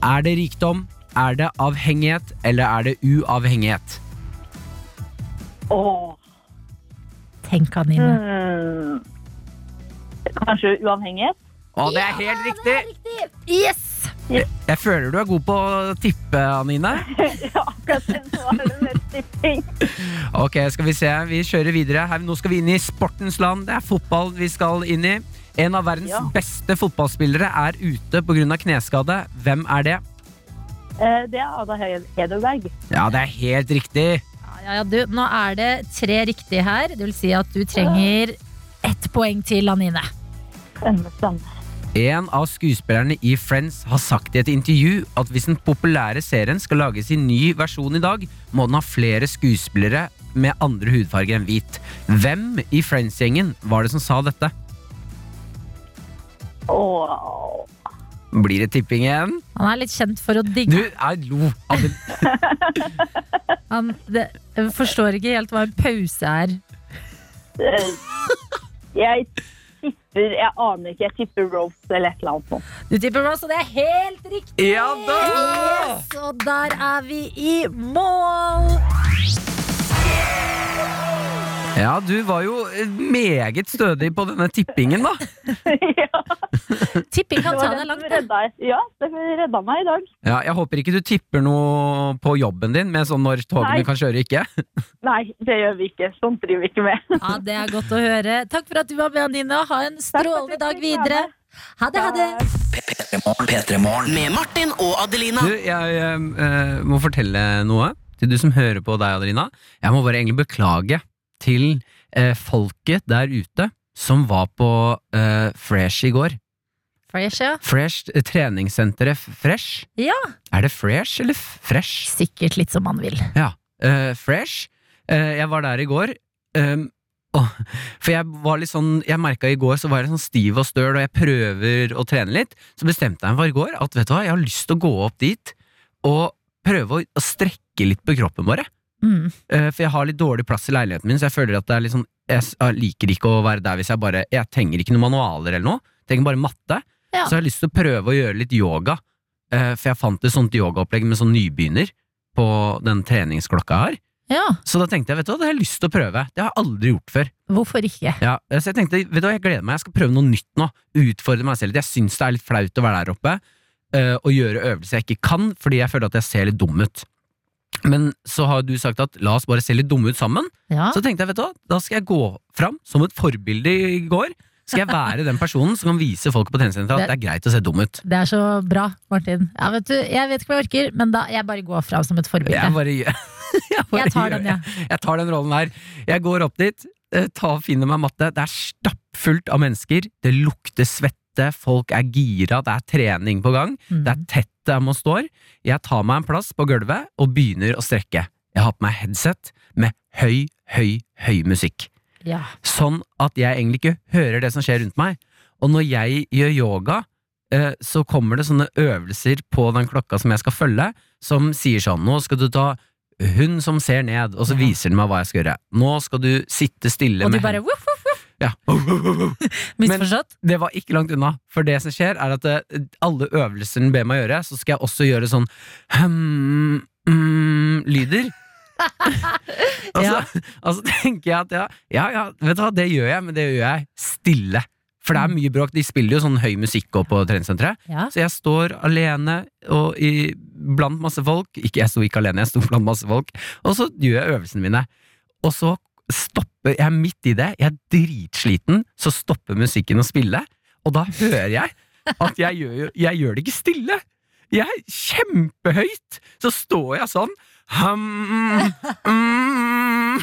Er det rikdom? Er det avhengighet? Eller er det uavhengighet?
Åh.
Tenk, Anine.
Hmm. Kanskje uavhengighet? [laughs]
Og det er helt riktig!
Yes!
Jeg føler du er god på å tippe, Anine.
Ja, akkurat nå er det mer tipping.
Ok, skal vi se. Vi kjører videre. Her, nå skal vi inn i sportens land. Det er fotball vi skal inn i. En av verdens
Ja.
beste fotballspillere er ute pga. kneskade. Hvem er det?
Eh, Det er Ada He- Hederberg.
Ja, det er helt riktig.
Ja, ja, du, nå er det tre riktige her. Det vil si at du trenger ett poeng til, Anine.
Spennende, spennende.
En av skuespillerne i Friends har sagt i et intervju at hvis den populære serien skal lage sin ny versjon i dag, må den ha flere skuespillere med andre hudfarger enn hvit. Hvem i Friends-gjengen var det som sa dette?
Åh.
Blir det tipping igjen?
Han er litt kjent for å
Du,
digge.
jeg lo. av det.
Han det, jeg forstår ikke helt hva en pause er.
Eh, Jeg tipper Jeg aner ikke. Jeg tipper Rose eller et eller annet sånt. [laughs]
Du tipper Ross, og det er helt riktig!
Ja da!
Yes, og der er vi i mål!
Ja, du var jo eh, meget stødig på denne tippingen, da.
ja,
Tipping
det
kan
var
ta
den
deg
som
langt. ned.
redda, ja, den redda meg i dag.
Ja, jeg håper ikke du tipper noe på jobben din med sånn når togene
Nei.
kan kjøre, ikke?
Nei, det gjør vi ikke. Sånt driver vi ikke med.
Ja, Det er godt å høre. Takk for at du var med, Anine. og Ha en strålende dag videre. Ha det, ha det.
Med Martin og Adelina.
Du, jeg eh, må fortelle noe til du som hører på deg, Adelina. Jeg må bare egentlig beklage til eh, folket der ute som var på eh, Fresh i går.
Fresh, ja.
Fresh, eh, treningssenteret F- Fresh.
Ja.
Er det Fresh eller F- Fresh?
Sikkert litt som man vil.
Eh, fresh. Eh, jeg var der i går. ehm, åh, for jeg var litt sånn Jeg merka i går så var jeg sånn stiv og støl, og jeg prøver å trene litt. Så bestemte jeg meg for i går at vet du hva, jeg har lyst til å gå opp dit og prøve å, å strekke litt på kroppen bare.
Mm.
Eh, for jeg har litt dårlig plass i leiligheten min, så jeg føler at det er litt sånn Jeg s- jeg liker ikke å være der hvis jeg bare Jeg trenger ikke noen manualer eller noe. Jeg Trenger bare matte.
Ja.
Så jeg har lyst til å prøve å gjøre litt yoga. Eh, for jeg fant et sånt yogaopplegg med sånn nybegynner på den treningsklokka her.
Ja,
Så da tenkte jeg, vet du hva, det har jeg lyst til å prøve. Det har jeg aldri gjort før.
hvorfor ikke?
Ja, så jeg tenkte, vet du hva, jeg gleder meg, jeg skal prøve noe nytt nå. Utfordre meg selv litt. Jeg syns det er litt flaut å være der oppe eh, og gjøre øvelser jeg ikke kan, fordi jeg føler at jeg ser litt dum ut. Men så har du sagt at la oss bare se litt dumme ut sammen.
Ja.
Så tenkte jeg, vet du hva, da skal jeg gå fram som et forbilde i går. Skal jeg være den personen som kan vise folk på treningssenteret at det er greit å se dum ut.
Det er så bra, Martin. Ja, vet du, jeg vet ikke hva jeg orker, men da, jeg bare går fra som et
Jeg
forbilde.
bare gjør [laughs] Jeg, bare
Jeg tar
gjør-
den, ja.
jeg tar den rollen her. Jeg går opp dit, eh, tar, finner meg matte. Det er stappfullt av mennesker. Det lukter svette, folk er gira, det er trening på gang.
Mm.
Det er tett der man står. Jeg tar meg en plass på gulvet og begynner å strekke. Jeg har på meg headset med høy, høy, høy musikk.
Ja.
Sånn at jeg egentlig ikke hører det som skjer rundt meg. Og når jeg gjør yoga, eh, så kommer det sånne øvelser på den klokka som jeg skal følge, som sier sånn Nå skal du ta hun som ser ned, og så
Ja.
viser den meg hva jeg skal gjøre. Nå skal du sitte stille
Og du
med
bare
hen-
woof, woof, woof,
ja.
misforstått?
Det var ikke langt unna, for det som skjer er at eh, alle øvelser den ber meg gjøre, så skal jeg også gjøre sånn hmm, mm, lyder. og, så,
Ja.
[laughs] og så tenker jeg at ja, ja, ja, vet du hva, det gjør jeg, men det gjør jeg stille. For det er mye bråk, de spiller jo sånn høy musikk også på treningssenteret.
Ja.
Så jeg står alene og i, blant masse folk. Ikke, jeg sto ikke alene, jeg sto blant masse folk. Og så gjør jeg øvelsene mine. Og så stopper jeg er midt i det, jeg er dritsliten, så stopper musikken å spille. Og da hører jeg at jeg gjør, jo- jeg gjør det ikke stille. Jeg er kjempehøyt! Så står jeg sånn hum, mm, mm.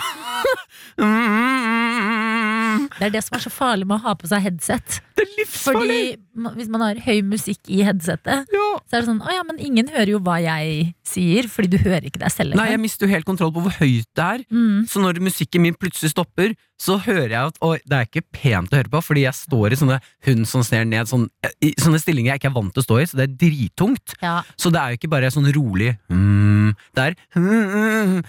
Det er det som er så farlig med å ha på seg headset.
Det er livsfarlig!
Fordi ma- hvis man har høy musikk i headsetet,
Ja.
så er det sånn Å ja, men ingen hører jo hva jeg sier, fordi du hører ikke deg selv
Nei, jeg mister jo helt kontroll på hvor høyt det er.
Mm.
Så når musikken min plutselig stopper, så hører jeg at Oi, det er ikke pent å høre på, fordi jeg står i sånne hun som sner ned, sånn, i sånne stillinger jeg ikke er vant til å stå i, så det er drittungt.
Ja.
Så det er jo ikke bare sånn rolig mm, Det er hmm,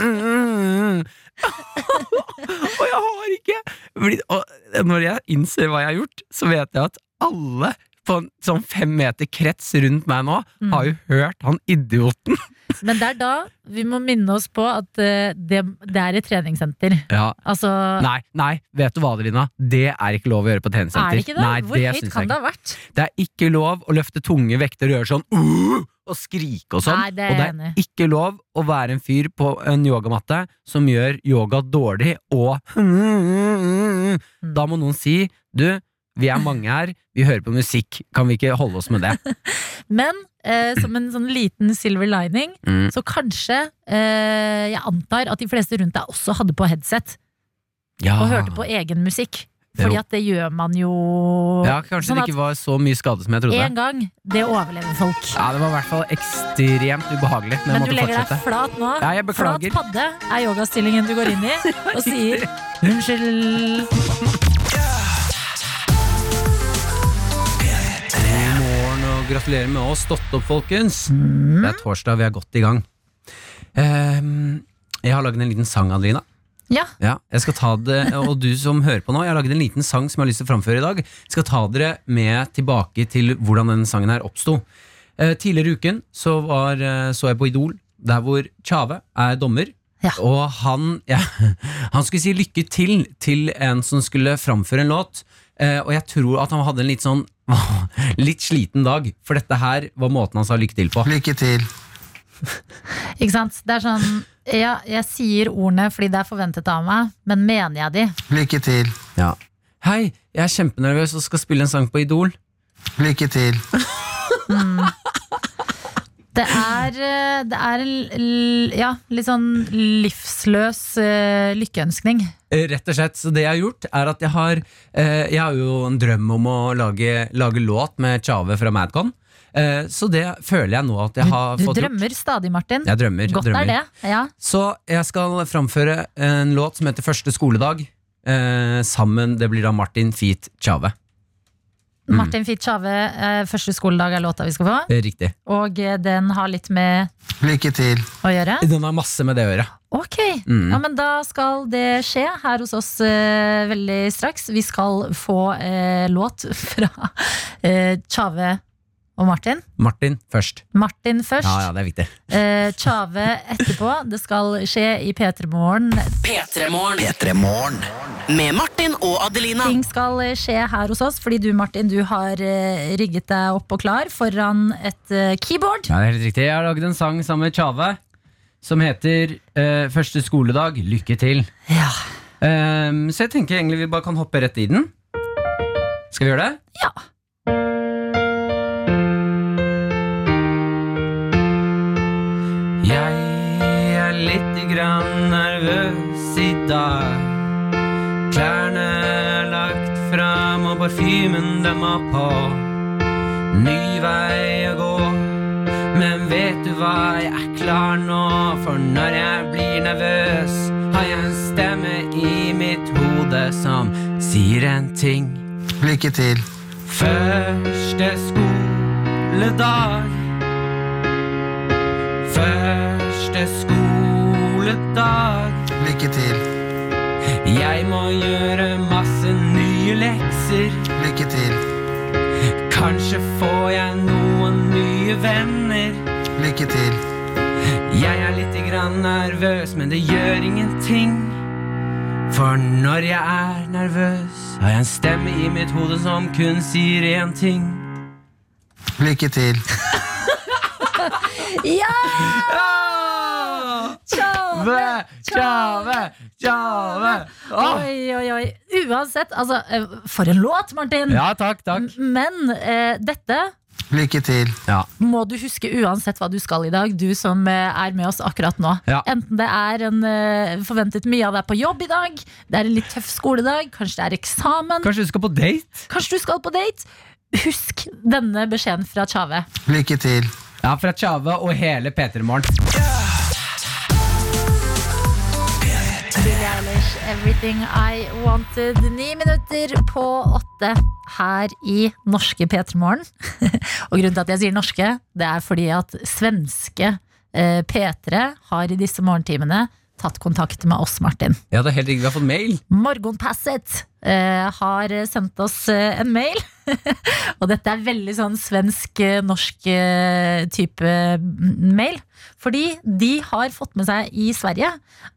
[laughs] Og jeg har ikke fordi- og Når jeg innser hva jeg har gjort, så vet jeg at alle på en sånn fem meter krets rundt meg nå, har jo hørt han idioten.
Men det er da vi må minne oss på at eh, det, det er et treningssenter.
Ja.
Altså,
Nei, nei, vet du hva, Adelina? Det er ikke lov å gjøre på
er
treningssenter.
det ikke det?
Nei,
Hvor
det
høyt
syns jeg
kan
ikke.
det ha vært?
Det er ikke lov å løfte tunge vekter og gjøre sånn «Uh!» og skrike og sånn.
Nei, det er
og det
jeg enig
er
i.
ikke lov å være en fyr på en yogamatte som gjør yoga dårlig og uh, Da må noen si du, vi er mange her, vi hører på musikk, kan vi ikke holde oss med det?
Men eh, som en sånn liten silver lining,
Mm.
så kanskje eh, Jeg antar at de fleste rundt deg også hadde på headset
Ja,
[laughs] og hørte på egen musikk. Fordi
Ah. Jo.
at det gjør man jo
ja Kanskje
Sånn
det ikke var så mye skade som jeg trodde.
en gang. Det overlever folk.
Ja, Det var i hvert fall ekstremt ubehagelig. Men, jeg
Men du
måtte
legger
fortsette.
deg flat nå.
Ja, jeg
Flat
beklager.
padde er yogastillingen du går inn
[laughs]
i, og sier unnskyld.
God morgen og gratulerer med å ha stått opp, folkens. Det er torsdag, vi er godt i gang. Ehm, jeg har laget en liten sang, Adelina.
Ja.
Ja, jeg skal ta det, og du som hører på nå, jeg har laget en liten sang som jeg har lyst til å framføre i dag. Jeg skal ta dere med tilbake til hvordan denne sangen her oppsto. Eh, tidligere i uken så, var, eh, så jeg på Idol, der hvor Tjave er dommer.
Ja.
Og han, ja, [laughs] han skulle si lykke til til en som skulle framføre en låt. Eh, og jeg tror at han hadde en litt sånn [laughs] litt sliten dag, for dette her var måten han sa lykke til på.
Lykke til.
Ikke sant? Det er sånn ja, Jeg sier ordene fordi det er forventet av meg, men mener jeg de?
Lykke til.
Hei, jeg er kjempenervøs og skal spille en sang på Idol.
Lykke til.
Det er, eh, det er en l- ja, litt sånn livsløs eh, lykkeønskning.
Eh, Rett og slett, så det jeg har gjort er at jeg har eh, Jeg har jo en drøm om å lage, lage låt med Tjave fra Madcon eh, Så det føler jeg nå at jeg har
Du
fått
drømmer stadig, Martin.
gjort Jeg drømmer,
Godt er
drømmer.
det. Ja.
Så jeg skal framføre en låt som heter Første skoledag eh, Sammen, det blir da Martin Feet Tjave Mm.
Martin Fitjave, eh, første skoledag er låta vi skal få.
Eh, Riktig
Og eh, den har litt med
Lykke til.
å gjøre.
Den har masse med det å gjøre
Ok,
Mm.
ja, men da skal det skje her hos oss eh, veldig straks. Vi skal få eh, låt fra eh, Tjave og Martin.
Martin først
Martin først,
Ja, ja, det er viktig
eh, Tjave etterpå. Det skal skje i P3 Morgen.
P3-morgen. Med Martin og Adelina.
Ting skal eh, skje her hos oss, fordi du Martin, du har eh, rigget deg opp og klar foran et eh, keyboard.
Ja, det er helt riktig Jeg har laget en sang sammen med Tjave Som heter eh, Første skoledag, lykke til
Ja.
Ehm, så jeg tenker egentlig vi bare kan hoppe rett i den. Skal vi gjøre det?
Ja.
Jeg er litt grann nervøs i dag. Klærne er lagt fram og parfymen dem har på. Ny vei å gå. Men vet du hva, jeg er klar nå, for når jeg blir nervøs, har jeg en stemme i mitt hode som sier en ting.
Lykke til.
Første skoledag Første skoledag
Lykke til.
Jeg må gjøre masse nye lekser
Lykke til.
Kanskje får jeg noen nye venner
Lykke til.
Jeg er litt grann nervøs, men det gjør ingenting. For når jeg er nervøs, har jeg en stemme i mitt hode som kun sier én ting.
Lykke til.
Ja!
Ah!
Tjave!
Tjave, tjave, tjave. Ah!
Oi, oi, oi. Uansett, altså, eh, for en låt, Martin!
Ja, takk, takk.
Men eh, dette
Lykke til.
må du huske uansett hva du skal i dag, du som eh, er med oss akkurat nå.
Ja.
Enten det er en eh, forventet mye av deg på jobb i dag, det er en litt tøff skoledag, kanskje det er eksamen,
Kanskje du skal på date?
kanskje du skal på date. Husk denne beskjeden fra Tjave.
Lykke til.
Ja, fra Tjave og hele P3 Morgen.
Billie Eilish, Everything I Wanted. Ni minutter på åtte her i norske P3 Morgen. [laughs] Og grunnen til at jeg sier norske, det er fordi at svenske eh, P3 har i disse morgentimene tatt kontakt med oss, Martin.
Ja, det er helt riktig. Vi har fått mail.
Morgenpasset eh, har sendt oss eh, en mail. [laughs] og dette er veldig sånn svensk-norsk eh, type mm, mail. Fordi de har fått med seg i Sverige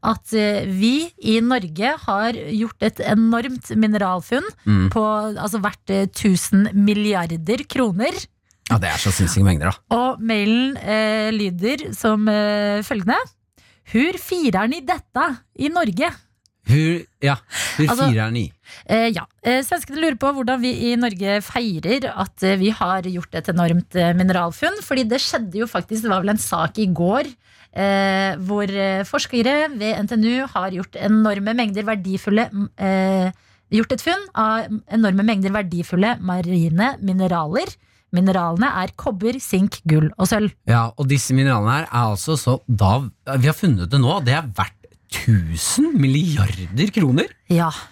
at eh, vi i Norge har gjort et enormt mineralfunn
Mm.
på altså verdt eh, 1000 milliarder kroner.
Ja, Det er så sinnssyke mengder, da.
Og mailen eh, lyder som eh, følgende. Hur firer ni dette i Norge?
Hur, ja, hur
Altså-
firer ni?
Eh, ja. Eh, svenskene lurer på hvordan vi i Norge feirer at eh, vi har gjort et enormt eh, mineralfunn. Fordi det skjedde jo faktisk, det var vel en sak i går. Eh, hvor eh, forskere ved NTNU har gjort enorme mengder verdifulle mm, eh, Gjort et funn av enorme mengder verdifulle marine mineraler. Mineralene er kobber, sink, gull og sølv.
Ja, og disse mineralene her er altså så da, Vi har funnet det nå, det er verdt 1000 milliarder kroner!
Ja. [laughs]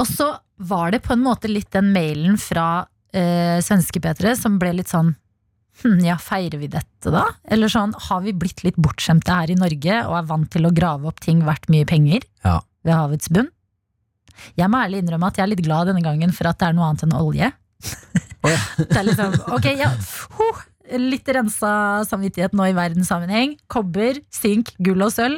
Og så var det på en måte litt den mailen fra eh, svenskepetere som ble litt sånn hm, ja, feirer vi dette da? Eller sånn, har vi blitt litt bortskjemte her i Norge og er vant til å grave opp ting verdt mye penger
Ja.
ved havets bunn? Jeg må ærlig innrømme at jeg er litt glad denne gangen for at det er noe annet enn olje.
Å ja.
[laughs] det er liksom, ok, ja, huh, litt rensa samvittighet nå i verdenssammenheng. Kobber, sink, gull og sølv.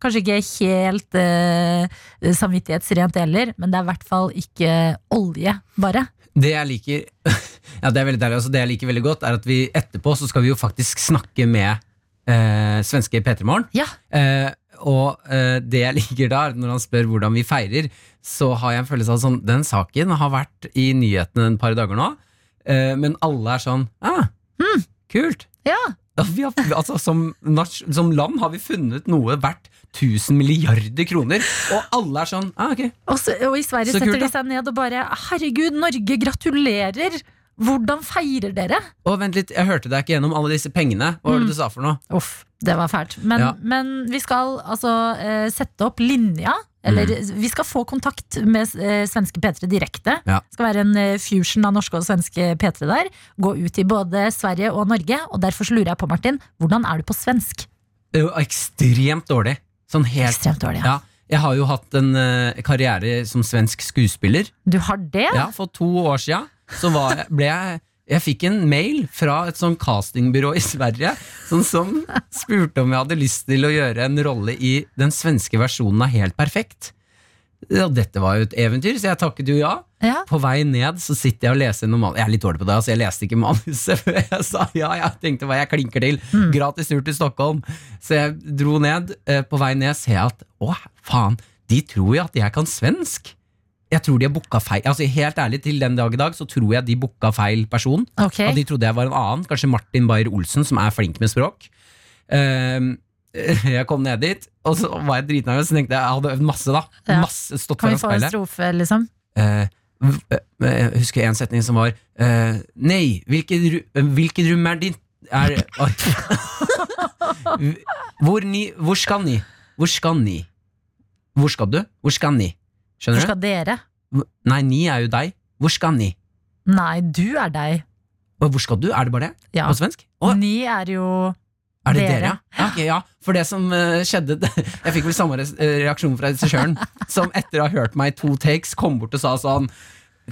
Kanskje ikke helt eh, samvittighetsrent heller, men det er i hvert fall ikke olje, bare.
Det jeg liker [laughs] Ja, det er veldig deilig altså, Det jeg liker veldig godt, er at vi etterpå så skal vi jo faktisk snakke med eh, svenske P3 Morgen.
Ja.
Eh, og eh, det jeg [laughs] liker da, er at når han spør hvordan vi feirer, så har jeg en følelse av sånn Den saken har vært i nyhetene en par dager nå, eh, men alle er sånn ah, Kult!
Ja,
Ja, Vi har, altså, som, nas- som land har vi funnet noe verdt 1000 milliarder kroner, og alle er sånn ah, ok,
Og, så, og i Sverige
Så
setter
kult,
de seg ned og bare Herregud, Norge, gratulerer! Hvordan feirer dere?
Å, vent litt, jeg hørte deg ikke gjennom alle disse pengene. Hva
Mm.
var det du sa for noe?
Uff, det var fælt. Men,
Ja.
men vi skal altså eh, sette opp linja. Eller
Mm.
vi skal få kontakt med eh, svenske P3 direkte.
Ja.
Det skal være en eh, fusion av norske og svenske P3 der. Gå ut i både Sverige og Norge. Og derfor så lurer jeg på, Martin, hvordan er du på svensk?
Det er jo ekstremt dårlig. Sånn helt
Ekstremt dårlig. Ja.
ja. Jeg har jo hatt en eh, karriere som svensk skuespiller.
Du har det?
Ja, For to år sia så var jeg, ble jeg jeg fikk en mail fra et sånn castingbyrå i Sverige som, som spurte om jeg hadde lyst til å gjøre en rolle i den svenske versjonen av Helt perfekt. Og dette var jo et eventyr, så jeg takket jo ja.
Ja.
På vei ned så sitter jeg og leser noe manus. Jeg er litt dårlig på det, altså jeg leste ikke manuset [laughs] før jeg sa ja. Jeg tenkte hva jeg klinker til.
Mm.
Gratis tur til Stockholm. Så jeg dro ned. Eh, På vei ned ser jeg at å, faen, de tror jo at jeg kan svensk. Jeg tror de har booka feil. Altså Helt ærlig, til den dag i dag så tror jeg de booka feil person.
Ok.
Og de trodde jeg var en annen, kanskje Martin Beyer-Olsen, som er flink med språk. Ehm, [laughs] jeg kom ned dit, og så var jeg dritnervøs. Så tenkte jeg jeg hadde øvd masse, da.
Ja.
Masse stått
Kan vi
foran
få en
speilet.
strofe, liksom?
Eh, v- eh, jeg husker en setning som var eh, Nei, hvilket, ru- eh, hvilket rom er ditt? Er, Oi. [laughs] hvor, ni, hvor skal ni? Hvor skal ni? Hvor skal du? Hvor skal ni?
Hvor
Skjønner
skal dere?
du? Nei, ni er jo deg. Hvor skal ni?
Nei, du er deg.
Og Hvor skal du? Er det bare det?
Ja.
På svensk? Å,
Ni er jo
er det
dere.
dere? Ja, ok, ja. For det som eh, skjedde [laughs] Jeg fikk vel samme res- eh, reaksjon fra regissøren, som etter å ha hørt meg i to takes, kom bort og sa sånn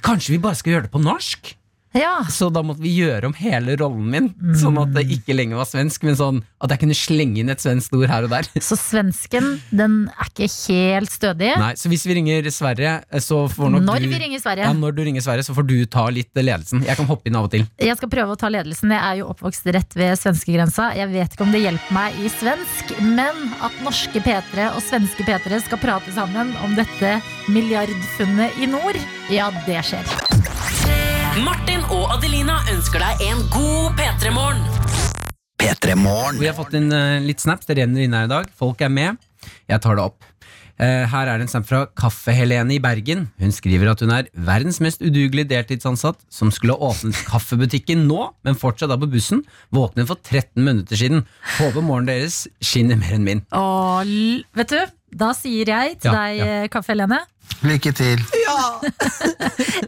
Kanskje vi bare skal gjøre det på norsk?
Ja.
Så da måtte vi gjøre om hele rollen min, sånn at det ikke lenger var svensk, men sånn at jeg kunne slenge inn et svensk ord her og der.
Så svensken, den er ikke helt stødig.
Nei, Så hvis vi ringer Sverige, så får nok
Når
du
vi ringer Sverige.
ja, Når du ringer Sverige, så får du ta litt ledelsen. Jeg kan hoppe inn av og til.
Jeg skal prøve å ta ledelsen. Jeg er jo oppvokst rett ved svenskegrensa. Jeg vet ikke om det hjelper meg i svensk, men at norske P3 og svenske P3 skal prate sammen om dette milliardfunnet i nord, ja, det skjer.
Martin og Adelina ønsker deg en god P3-morgen.
Vi har fått inn eh, litt snaps. Det renner inn her i dag. Folk er med. Jeg tar det opp. Eh, her er det en snap fra Kaffe-Helene i Bergen. Hun skriver at hun er verdens mest udugelige deltidsansatt som skulle ha åpnet kaffebutikken nå, men fortsatt er på bussen. Våknet for 13 minutter siden. Håper morgenen deres skinner mer enn min.
Og l- vet du, Da sier jeg til
Ja,
deg, eh, Kaffe Helene,
Lykke til.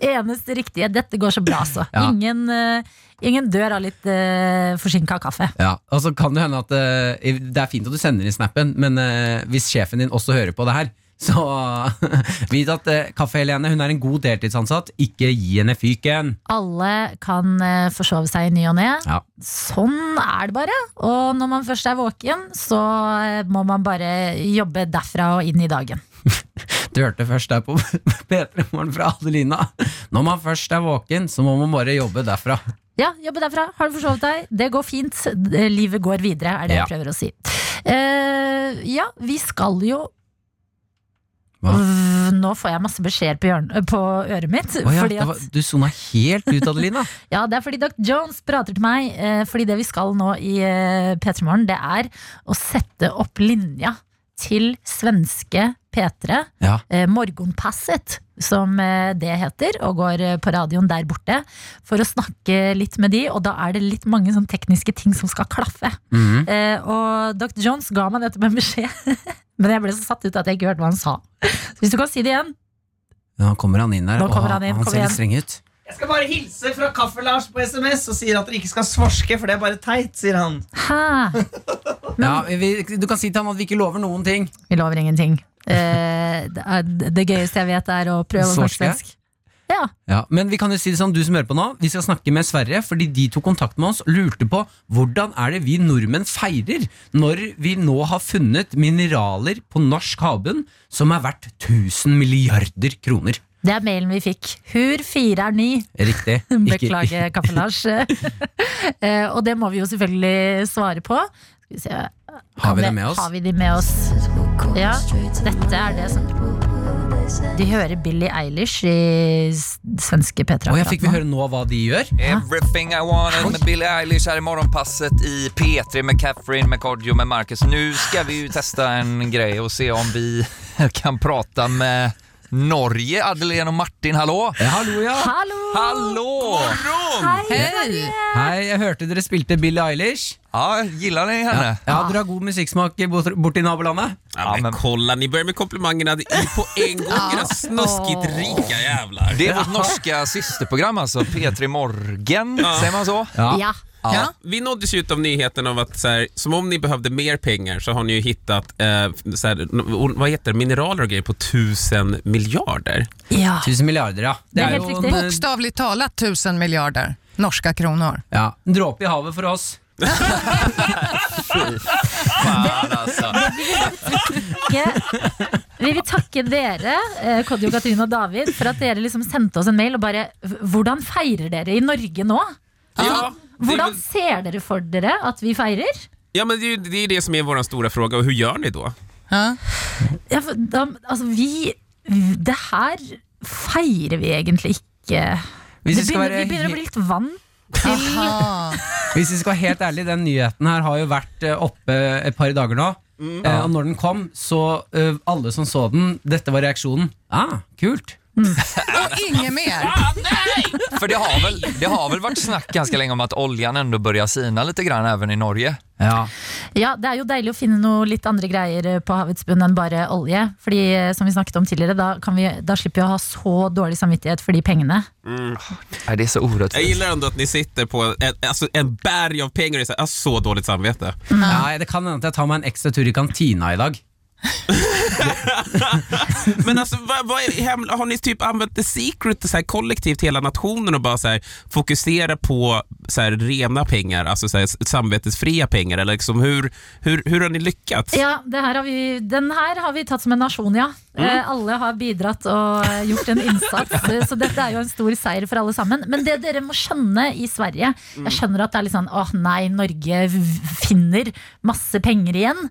eneste riktige. Dette går så bra, altså.
Ja.
Ingen, eh, ingen dør av litt uh, forsinka kaffe.
Ja, og så kan det hende at eh, Det er fint at du sender inn snappen, men eh, hvis sjefen din også hører på det her, så [laughs] vit at uh, Kaffe-Helene hun er en god deltidsansatt. Ikke gi henne fyken!
Alle kan eh, forsove seg i ny og ne.
Ja.
Sånn er det bare. Og når man først er våken, så eh, må man bare jobbe derfra og inn i dagen.
Du hørte først der på [laughs] P3 Morgen fra Adelina. Når man først er våken, så må man bare jobbe derfra.
Ja, jobbe derfra. Har du forsovet deg? Det går fint. Det- Livet går videre, er det
Ja.
jeg prøver å si. Eh, ja, vi skal jo
Hva?
V- Nå får jeg masse beskjeder på, hjørn- på øret mitt.
Å ja,
fordi
det
at,
var, du sona helt ut, Adelina.
ja, det er fordi Dr. Jones prater til meg. Eh, fordi det vi skal nå i eh, P3 Morgen, det er å sette opp linja til svenske P3.
Ja.
eh, Morgonpasset, som eh, det heter, og går eh, på radioen der borte, for å snakke litt med de, og da er det litt mange sånn tekniske ting som skal klaffe.
Mhm.
Eh, og Dr. Jones ga meg dette med beskjed, [laughs] men jeg ble så satt ut at jeg ikke hørte hva han sa. Så hvis du kan si det igjen.
Nå kommer han inn der,
Nå
og
kommer
han,
han inn,
han
kom
ser litt
igjen.
streng ut.
Jeg skal bare hilse fra Kaffe-Lars på SMS og sier at dere ikke skal svorske, for det er bare teit, sier han.
Hæ?
Ja, vi, du kan si til han at vi ikke lover noen ting.
Vi lover ingenting. Eh, det, er, det gøyeste jeg vet, er å prøve å snakke
Svorske?
svensk. Ja.
Ja, men vi kan jo si det sånn, du som hører på nå Vi skal snakke med Sverre, fordi de tok kontakt med oss og Lurte på hvordan er det vi nordmenn feirer Når vi nå har funnet mineraler på norsk havbunn Som er verdt 1000 milliarder kroner
Det er mailen vi fikk. Hur fire er ni. [laughs]
Riktig Ikke- [laughs]
Beklager, Kaffe Lars. Eh, og det må vi jo selvfølgelig svare på. Skal vi se.
Har vi
Kan
det med oss?
Har vi de med oss? Ja, dette er det som De hører Billie Eilish i s- svenske P3.
Åja, fikk vi høre nå hva de gjør?
Everything I wanted med Billie Eilish här i morgonpasset i P3 med Catherine, med Cardio, med Marcus. Nu ska vi ju testa en grej och se om vi [laughs] kan prata med Norge. Adelén och Martin, hallå?
Ja, hallo ja
Hallo!
Hallå!
Hei!
Hei, jeg hørte dere spilte Billie Eilish
Ja, gillar ni henne?
Ja, dere har god musikksmak bort bort i nabolandet
Ja,
Ja, men
men-
kolla, ni börjar med komplimangerna i på en gång, era snuskigt rika jävlar.
Det är vårt norska systerprogram alltså, P3 Morgen, säger man så?
Ja.
Ja, vi nåddes ju av nyheten om att så här, som om ni behövde mer pengar så har ni ju hittat eh, så här, n- vad heter det, mineraler och grejer på tusen miljarder.
ja.
1000 milliarder, ja Det
er
er
helt
jo
riktig.
en,
Bokstavligt talat tusen miljarder norska kronor.
ja, en dråpe i havet for oss
Fan alltså.
takke, vi vil takke dere, eh, Kodjo, Katrine og David, for at dere liksom sendte oss en mail og bare "H- Hvordan feirer dere i Norge nå?
Ja, det, är
Hvordan
väl-
ser dere for dere at vi feirer?
ja, men det, är ju- det är det som är vår stora fråga och hur gör ni då?
Ja.
Ja, for da, altså, vi Det her feirer vi egentlig ikke.
Hvis
det
vi skal
begynner,
være
vi begynner
he-
å bli litt vant.
[laughs]
Aha.
Hvis vi skal være helt ærlig, den nyheten her har jo vært eh, oppe et par dager nå. Eh, og når den kom, så eh, alle som så den, dette var reaksjonen. Ah, kult.
Och inget mer.
För det har, väl, det har väl varit snack ganska länge om att oljan ändå börjar sina lite grann även i Norge?
Ja.
Ja, Det er jo deilig å finne noe litt andre greier på havets bunn enn bare olje. Fordi eh, som vi snakket om tidligere, da, kan vi, da slipper vi å ha så dårlig samvittighet for de pengene.
Nej, det är så
Jag
orättvist.
gillar ändå att ni sitter på en, alltså en berg av pengar och är så, här, jag har så dåligt samvete.
Nei, det kan hende at jeg tar meg en ekstra tur i kantina i dag.
Men alltså, vad, vad är, hem- har ni typ använt the secret så här, kollektivt hela nationen och bara så här, fokusera på så här, rena pengar, alltså så här, s- samvetesfria pengar? Eller liksom, hur, hur, hur har ni lyckats?
Ja, det her har vi, Den her har vi tatt som en nasjon, ja.
Mm.
Eh, alle har bidratt og eh, gjort en innsats.
[laughs]
eh, så dette er jo en stor seier for alle sammen. Men det dere må skjønne i Sverige
Mm.
Jeg skjønner at det er litt sånn åh nei, Norge
Mm.
v- finner masse penger igjen.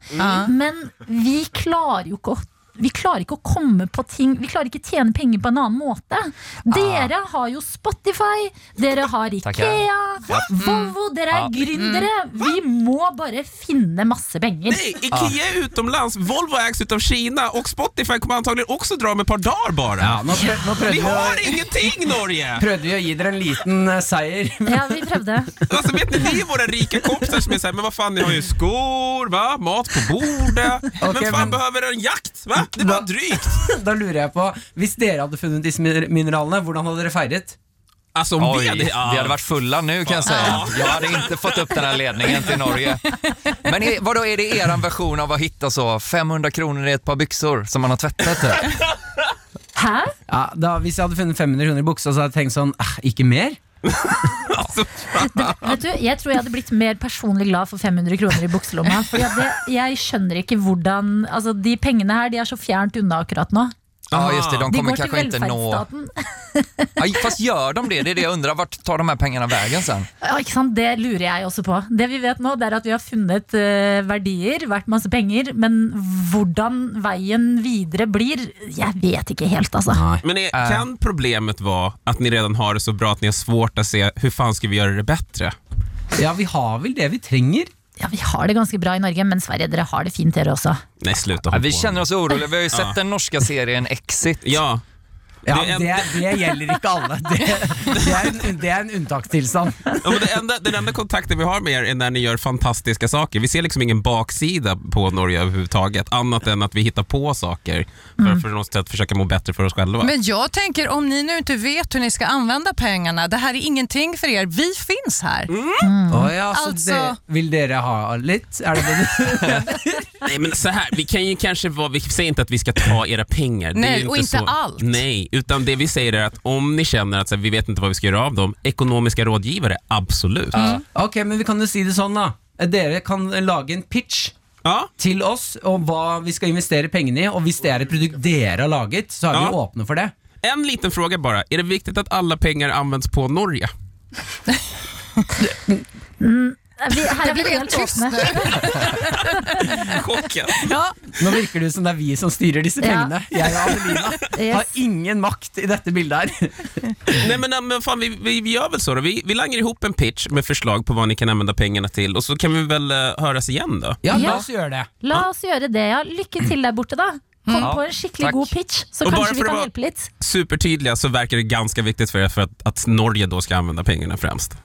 Men vi klarer jo ikke å vi klarer ikke å komme på ting Vi klarer ikke tjene penger på en annen måte.
Ah.
Dere har jo Spotify, dere har
Takk,
Ikea,
ja. Mm.
Volvo, dere
Ja.
er gründere. Vi må bare finne masse penger.
Nej, Ikea är utomlands, Volvo ägs utav Kina och Spotify kommer antagligen också dra om ett par dagar bara.
Ja, nå, prøv, nå
Vi
prøvde, vi å,
har ingenting Norge!
[laughs] prøvde vi å gi dere en liten eh, seier. [laughs]
Ja, vi prøvde.
Alltså, vet ni, ni är våra rika kompisar som är såhär, men vad fan ni har ju skor, va? mat på bordet.
[laughs] Okej,
men fan
men-
behöver en jakt? Va? Det var
Va-
drygt.
Da lurer jeg på, hvis dere hadde funnet disse min- mineralene, hvordan hadde dere feiret?
Alltså om
Oj,
vi hade...
vi
ja.
hade varit fulla nu kan jag säga. Jag hade inte fått upp den här ledningen till Norge. Men är, vadå, är det eran version av att hitta så 500 kronor i ett par byxor som man har tvättat? Det?
Hæ?
Ja, da, hvis jeg hadde funnet 500 kroner i buksa, så hadde jeg tenkt sånn, eh, ikke mer?
Vet du, Jeg tror jeg hadde blitt mer personlig glad for 500 kroner i bukselomma. For jeg, det, jeg skjønner ikke hvordan Altså, De pengene her de er så fjernt unna akkurat nå.
Ja, Ah, just
Ah.
det, de
De
kommer
går til
kanske inte nå...
velferdsstaten.
Aj, fast gör de det? Det är det jag undrar. Vart tar de här pengarna vägen sen?
Ja, ikke sant? Det lurer jeg også på. Det vi vet nå, det er at vi har funnet eh, verdier, vært masse penger, men hvordan veien videre blir, jeg vet ikke helt, altså.
Men är,
Äh.
kan problemet vara att ni redan har det så bra att ni har svårt att se hur fan ska vi göra det bättre?
Ja, vi har vel det vi trenger.
Ja, vi har det ganske bra i Norge, men Sverige, dere har det fint dere også.
Nej, sluta
Ja,
håll
vi
på.
känner oss oroliga. Vi har ju sett den norska serien Exit.
Ja,
Ja,
Det er-
det, det gjelder ikke alle. Det, det, er, en, det er en unntakstilstand.
Ja, men det enda, den enda kontakten vi har med er är när ni gör fantastiska saker. Vi ser liksom ingen baksida på Norge överhuvudtaget, annat än att vi hittar på saker för,
Mm.
för något sätt försöka må bättre för oss själva.
Men jag tänker om ni nu inte vet hur ni ska använda pengarna, det här är ingenting för er, vi finns här.
Mm.
Å ja, så
Altså-
det, vil dere ha litt? Er det det du
Nej, men så här, vi kan ju kanske vara, vi säger inte att vi ska ta era pengar. det är
Nej,
ju
och inte
så,
allt.
Nej, utan det vi säger är att om ni känner att så här, vi vet inte vad vi ska göra av dem, ekonomiska rådgivare, absolut.
Ok, men vi kan jo si det sånn da Dere kan lage en pitch
Ja,
til oss om hva vi skal investere pengene i Og hvis det er et produkt dere har laget, så er vi
Ja.
jo åpne for det
en liten fråga bara. Är det viktigt att alla pengar används på Norge?
Vi, her er
Det
vi
blev
helt
helt tyst
åpne.
nu.
Chocken.
Nå virker det som det er vi som styrer disse
Ja.
pengene Jeg og Adelina har
Yes.
ingen makt i dette bildet her
Nej men, men fan, vi, vi, vi gör väl så då. Vi, vi langar ihop en pitch med förslag på vad ni kan använda pengarna till och så kan vi väl eh, höras igen då.
Ja.
Ja, la oss gjøre det
La oss gjøre det, ja. Lykke til der borte, da. Kom
Ja,
på en skikkelig
takk.
god pitch, så
Og bare
kanskje
for
vi
å
kan
være-
hjelpe litt.
Supertydliga så verkar det ganska viktigt för er för att, att Norge då ska använda pengarna främst.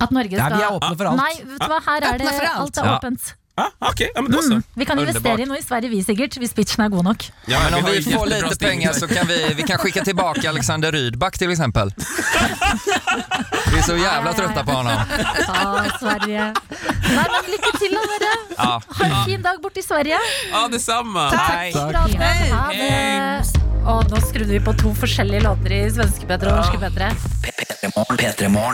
At Norge
ja, Vi er
skal
åpne for
Nei,
alt
vet du hva, her er
Åpne
det
for
Alt
alt.
er
Ja.
åpent.
Ah, Okej, ja, men då
Mm.
så.
Vi kan investere
Underbart.
i noe i Sverige, vi sikkert, hvis pitchen er god nok.
Ja,
Men om
har
vi
ju
får
jättebra
lite
steg.
pengar så kan vi, vi kan skicka tillbaka Alexander Rydback till exempel. Vi är så jävla trötta på honom.
Ja, Sverige. Nei, men lykke til da, dere.
Ja.
Ha en fin dag borte i Sverige.
Ja, detsamma.
Nej.
Bra, Hei. Ha det. Og nå skrudde vi på to forskjellige låter i svenske Petra og norske Petra.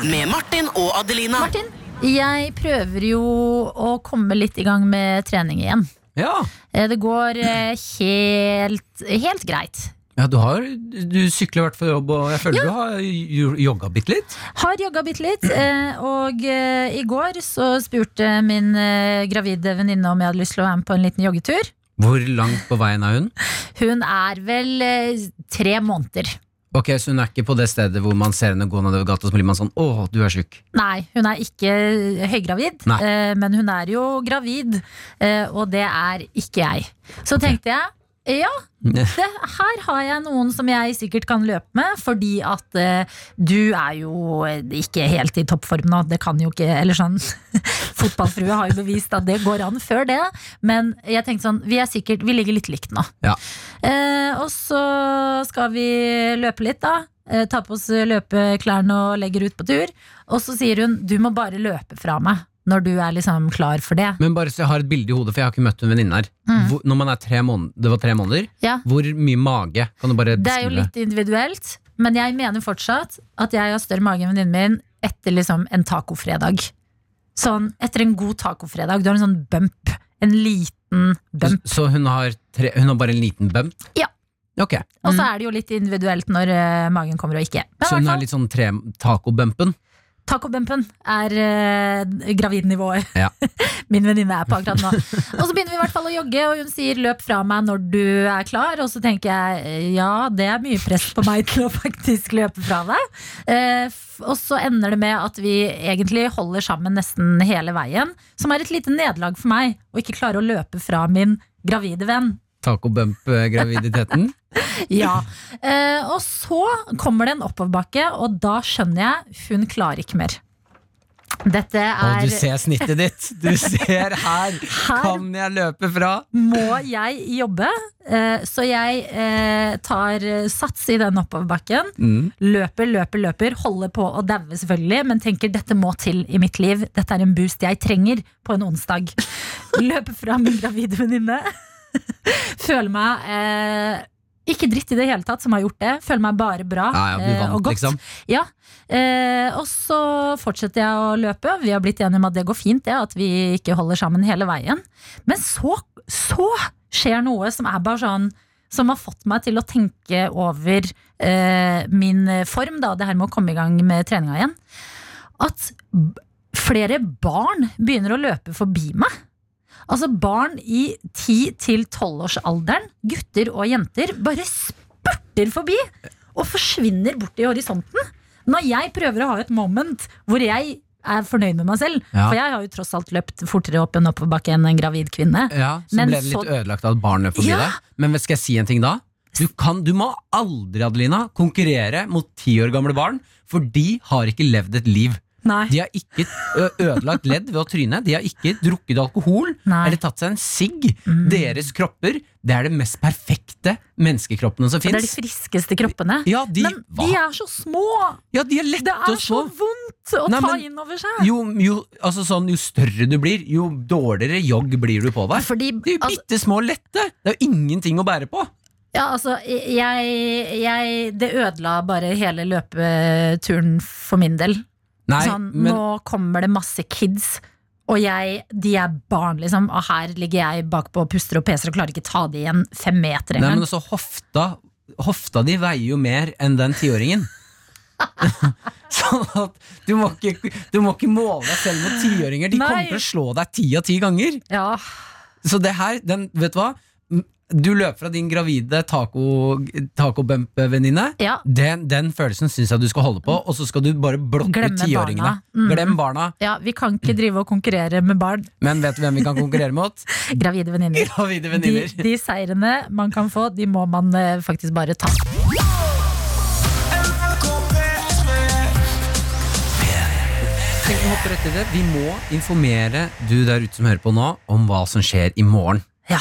Med Martin och Adelina.
Martin, jeg prøver jo å komme litt i gang med trening igjen.
Ja,
Eh, Det går eh, helt, helt greit.
ja du, har, du sykler hvert for jobb Og jeg føler du har jo- jogga bitt litt
Har jogga bitte litt, eh, og eh, i går så spurte min eh, gravide venninne om jeg hadde lyst til å være med på en liten joggetur.
Hvor langt på veien er hun?
Hun er vel eh, tre måneder.
Ok, så hun er ikke på det stedet hvor man ser henne gå nedover gata Så blir man sånn, åh, du er syk
Nei, hun er ikke høygravid,
Nei.
eh, men hun er jo gravid, eh, og det er ikke jeg. Så tenkte jeg ja, det, her har jeg noen som jeg sikkert kan løpe med, fordi at eh, du er jo ikke helt i toppform nå. Det kan jo ikke Eller sånn [laughs] Fotballfrue har jo bevist at det går an før det, men jeg tenkte sånn, vi er sikkert Vi ligger litt likt nå.
Ja.
Eh, og så skal vi løpe litt, da. Eh, Ta på oss løpeklærne og legger ut på tur. Og så sier hun du må bare løpe fra meg når du er liksom klar for det.
Men bare så jeg har et bilde i hodet, for jeg har ikke møtt en venninne her.
Mm.
Hvor, når man er tre måneder, det var tre måneder,
Ja.
hvor mye mage kan du bare
Det er jo
beskrive?
litt individuelt, men jeg mener fortsatt at jeg har større mage enn venninnen min etter liksom en tacofredag. Sånn, etter en god tacofredag. Du har en sånn bump. En liten bump.
Så, så hun, har tre, hun har bare en liten bump?
Ja.
Ok,
Og så er det jo litt individuelt når eh, magen kommer og ikke. Men i
Så
hvert
hun
fall-
er litt sånn tre, tacobumpen?
Tacobumpen er eh, gravidnivået
Ja.
[laughs] min venninne er på akkurat nå. Og så begynner vi i hvert fall å jogge, og hun sier 'løp fra meg når du er klar'. Og så tenker jeg eh, ja, det er mye press på meg [laughs] til å faktisk løpe fra deg. Eh, f- og så ender det med at vi egentlig holder sammen nesten hele veien, som er et lite nederlag for meg å ikke klare å løpe fra min gravide venn.
Tacobump-graviditeten.
Ja. Eh, og så kommer det en oppoverbakke, og da skjønner jeg hun klarer ikke mer. Dette
Og
[laughs] er
du ser snittet ditt! Du ser her! Kan jeg løpe fra?
må jeg jobbe. Eh, Så jeg eh, tar eh, sats i den oppoverbakken.
Mm.
Løper, løper, løper. Holder på å daue, selvfølgelig, men tenker dette må til i mitt liv. Dette er en boost jeg trenger på en onsdag.
[laughs]
Løper fra min gravide venninne. [laughs] Føler meg eh, ikke dritt i det hele tatt, som har gjort det. Føler meg bare bra
Ja, ja, du
eh, og
vant,
godt.
liksom.
Ja, eh, og så fortsetter jeg å løpe. Vi har blitt enige om at det går fint, det, at vi ikke holder sammen hele veien. Men så, så skjer noe som er bare sånn som har fått meg til å tenke over eh, min form, da, det her med å komme i gang med treninga igjen. At b- flere barn begynner å løpe forbi meg. Altså barn i 10-12-årsalderen, gutter og jenter, bare spurter forbi og forsvinner bort i horisonten. Når jeg prøver å ha et moment hvor jeg er fornøyd med meg selv,
Ja.
for jeg har jo tross alt løpt fortere opp en oppoverbakke enn en gravid kvinne.
Ja, så
Men
ble det litt
så-
ødelagt av at barn løp forbi
Ja.
deg. Men vet- skal jeg si en ting da? Du, kan, du må aldri, Adelina, konkurrere mot ti år gamle barn, for de har ikke levd et liv.
Nei.
De har ikke ø, ødelagt ledd ved å tryne, de har ikke drukket alkohol
Nei. Mm.
eller tatt seg en sigg. Deres kropper, det er det mest perfekte menneskekroppene som
Det er de
fins.
friskeste kroppene.
Ja, de,
men
hva?
de er så små!
ja, de er
Det
lette
er
å
så
slå.
vondt å
Nei,
ta
men-
inn over seg.
Jo, jo, altså sånn, jo større du blir, jo dårligere jogg blir du på deg.
Fordi,
De er jo
altså,
bitte små og lette! Det er jo ingenting å bære på.
ja, altså, jeg, jeg, det ødela bare hele løpeturen for min del.
Nei,
sånn,
men
Nå kommer det masse kids, og jeg, de er barn, liksom. Og her ligger jeg bakpå og puster og peser og klarer ikke ta det igjen fem meter
Nei, men
engang.
også hofta Hofta di veier jo mer enn den
[laughs]
tiåringen. sånn at du må, ikke, du må ikke måle deg selv mot tiåringer. De
Nei.
kommer til å slå deg ti av ti ganger.
Ja,
Så det her, den, vet du hva? Du løper fra din gravide taco- tacobump-venninne.
ja. Mm.
Den, den følelsen syns jeg du skal holde på, og så skal du bare blokke
Glemme
tiåringene.
barna. Mm.
Glem barna.
Ja, Vi kan ikke drive og konkurrere med barn.
Men vet du hvem vi kan konkurrere
[laughs]
mot?
Gravide venninner.
[laughs] Gravide
De,
venninner.
de seirene man kan få, de må man eh, faktisk bare ta.
Tenk å hoppe rett i det. Vi må informere du der ute som hører på nå, om hva som skjer i morgen.
Ja.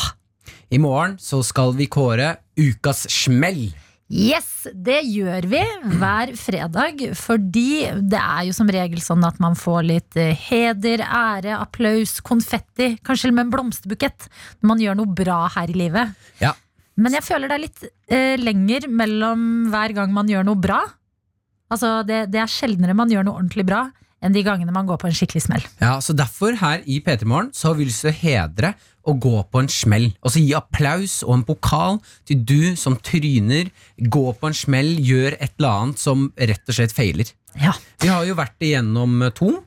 I morgen så skal vi kåre ukas smell.
Yes, det gjør vi hver fredag, fordi det er jo som regel sånn at man får litt eh, heder, ære, applaus, konfetti, kanskje til og med en blomsterbukett når man gjør noe bra her i livet.
Ja.
Men jeg føler det er litt eh, lenger mellom hver gang man gjør noe bra. Altså, det, det er sjeldnere man gjør noe ordentlig bra enn de gangene man går på en skikkelig smell.
Ja, så Derfor her i P3 Morgen så har vi lyst til å hedre og gå på en smell. Og så gi applaus og en pokal til du som tryner, gå på en smell, gjør et eller annet som rett og slett feiler.
Ja.
Vi har jo vært igjennom to.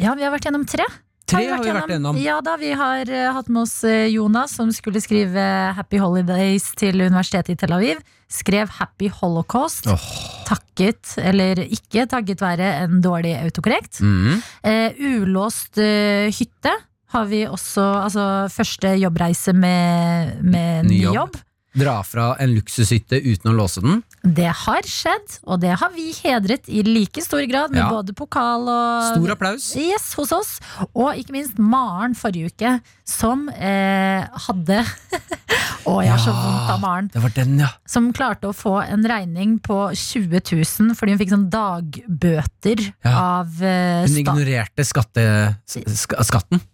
Ja, vi har vært gjennom tre.
Tre har vi vært igjennom.
Ja da, vi har eh, hatt med oss eh, Jonas, som skulle skrive Happy Holidays til universitetet i Tel Aviv. Skrev Happy Holocaust. Takket, eller ikke takket være en dårlig autokorrekt.
Mm.
Eh, ulåst eh, hytte har vi også, altså første jobbreise med, med ny
Ny jobb.
jobb.
Dra fra en luksushytte uten å låse den.
Det har skjedd, og det har vi hedret i like stor grad med
Ja.
både pokal og
Stor applaus.
Yes, hos oss. Og ikke minst Maren forrige uke, som eh, hadde [laughs] Å, jeg har så
Ja.
vondt av Maren.
Det var den, ja.
Som klarte å få en regning på 20 000 fordi hun fikk sånn dagbøter
Ja.
av eh,
Hun
staten.
ignorerte skatte, sk skatten.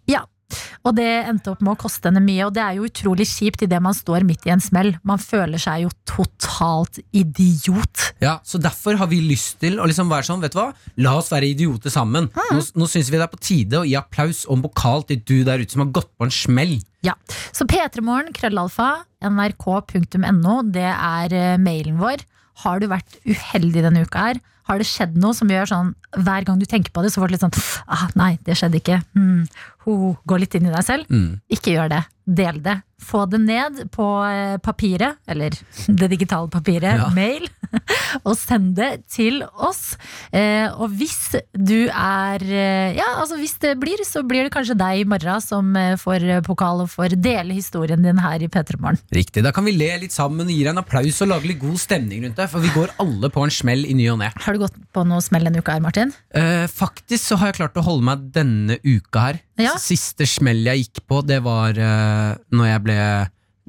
Og det endte opp med å koste henne mye, og det er jo utrolig kjipt idet man står midt i en smell. Man føler seg jo totalt idiot.
Ja, så Derfor har vi lyst til å liksom være sånn, vet du hva? La oss være idioter sammen. Nå, nå syns vi det er på tide å gi applaus og en pokal til du der ute som har gått på en smell.
Ja. Så p3morgen, krøllalfa, nrk.no, det er eh, mailen vår. Har du vært uheldig denne uka her? Har det skjedd noe som gjør sånn hver gang du tenker på det, så får du litt sånn ah, Nei, det skjedde ikke. Hmm. Ho, ho. Gå litt inn i deg selv.
Mm.
Ikke gjør det. Del det. Få det ned på eh, papiret, eller [laughs] det digitale papiret,
Ja.
mail, [laughs] og send det til oss. Eh, og hvis du er eh, Ja, altså hvis det blir, så blir det kanskje deg i morgen som eh, får eh, pokal og får dele historien din her i P3 Morgen.
Riktig, Da kan vi le litt sammen, gi deg en applaus og lage litt god stemning rundt deg. For vi går alle på en smell i ny og ne.
Har du gått på noe smell denne uka her, Martin?
Eh, faktisk så har jeg klart å holde meg denne uka her.
Ja.
Siste smell jeg gikk på, det var eh, når jeg ble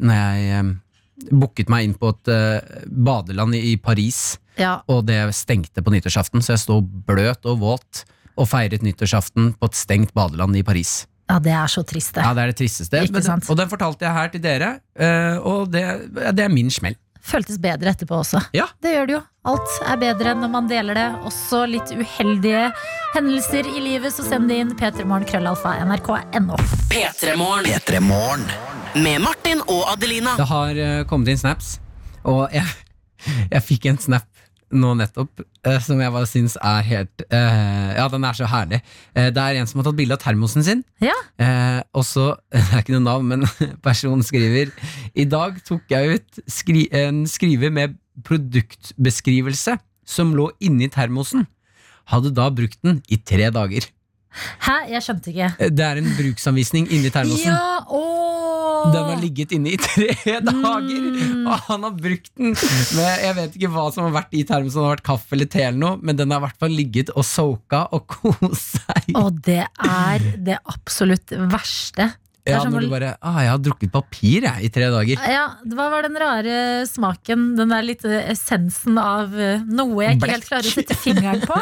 Når jeg eh, booket meg inn på et eh, badeland i, i Paris,
Ja.
og det stengte på nyttårsaften, så jeg sto bløt og våt og feiret nyttårsaften på et stengt badeland i Paris.
ja, det er så trist, det.
Ja, Det er det tristeste.
Ikke
Men-
sant.
Og den fortalte jeg her til dere, eh, og det, det er min smell.
føltes bedre etterpå også.
Ja.
Det gjør det jo. Alt er bedre når man deler det. Også litt uheldige hendelser i livet, så send det inn p3morgen.krøllalfa.nrk.no.
P3morgen. Med Martin og Adelina.
Det har eh, kommet inn snaps, og jeg, [laughs] jeg fikk en snap nå nettopp eh, som jeg bare syns er helt eh, Ja, den er så herlig. Eh, det er en som har tatt bilde av termosen sin,
Ja.
eh, og så [laughs] Det er ikke noe navn, men [laughs] personen skriver I dag tok jeg ut skri en skriver med produktbeskrivelse som lå inni termosen. Hadde da brukt den i tre dager.
Hæ? Jeg skjønte ikke.
Eh, Det er en bruksanvisning inni termosen.
Ja, ååå!
Den har ligget inne i tre [laughs] dager,
Mm.
og han har brukt den. Men jeg vet ikke hva som har vært i termen, som har vært kaffe eller te, eller noe, men den har i hvert fall ligget og soka og [laughs] kost seg.
Og det er det absolutt verste. det er
ja,
som å-
når du bare ah, 'Jeg har drukket papir, jeg, i tre dager'.
Ja, Hva var den rare smaken? Den der litt eh, essensen av eh, noe jeg ikke helt klarer å sette fingeren på?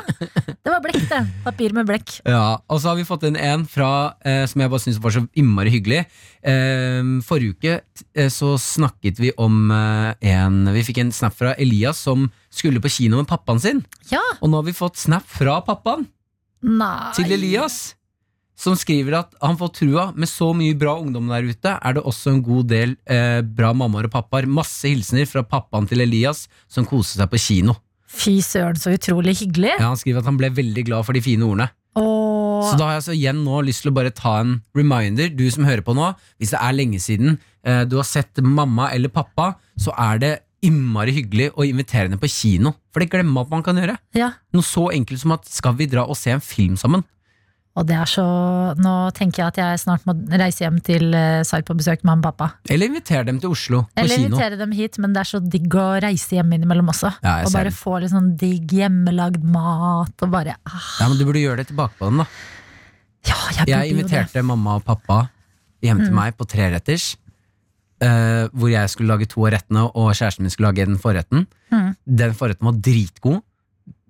Det var blekk, det. Papir med blekk.
Ja, Og så har vi fått inn en fra, eh, som jeg bare syns var så innmari hyggelig. Eh, forrige uke eh, så snakket vi om eh, en Vi fikk en snap fra Elias som skulle på kino med pappaen sin.
Ja,
Og nå har vi fått snap fra pappaen.
nei
Til Elias, som skriver at han får trua. Med så mye bra ungdom der ute, er det også en god del eh, bra mammaer og pappaer. Masse hilsener fra pappaen til Elias, som koste seg på kino.
Fy søren, så utrolig hyggelig.
Ja, han skriver at han ble veldig glad for de fine ordene.
Og
Så da har jeg altså igjen nå lyst til å bare ta en reminder, du som hører på nå. Hvis det er lenge siden eh, du har sett mamma eller pappa, så er det innmari hyggelig å invitere henne på kino. For det glemmer man at man kan gjøre.
Ja,
Noe så enkelt som at skal vi dra og se en film sammen?
og det er så Nå tenker jeg at jeg snart må reise hjem til eh, Sarp på besøk med mamma og pappa.
Eller invitere dem til Oslo på
Eller
kino.
invitere dem hit, men det er så digg å reise hjem innimellom også.
Ja, jeg
og
ser
bare
den.
få litt sånn digg hjemmelagd mat og bare ah,
Ja, men Du burde gjøre det tilbake på dem. da
Ja, jeg burde
Jeg
jo det.
inviterte mamma og pappa hjem
Mm.
til meg på treretters. eh, hvor jeg skulle lage to av rettene, og kjæresten min skulle lage den forretten.
Mm.
Den forretten var dritgod.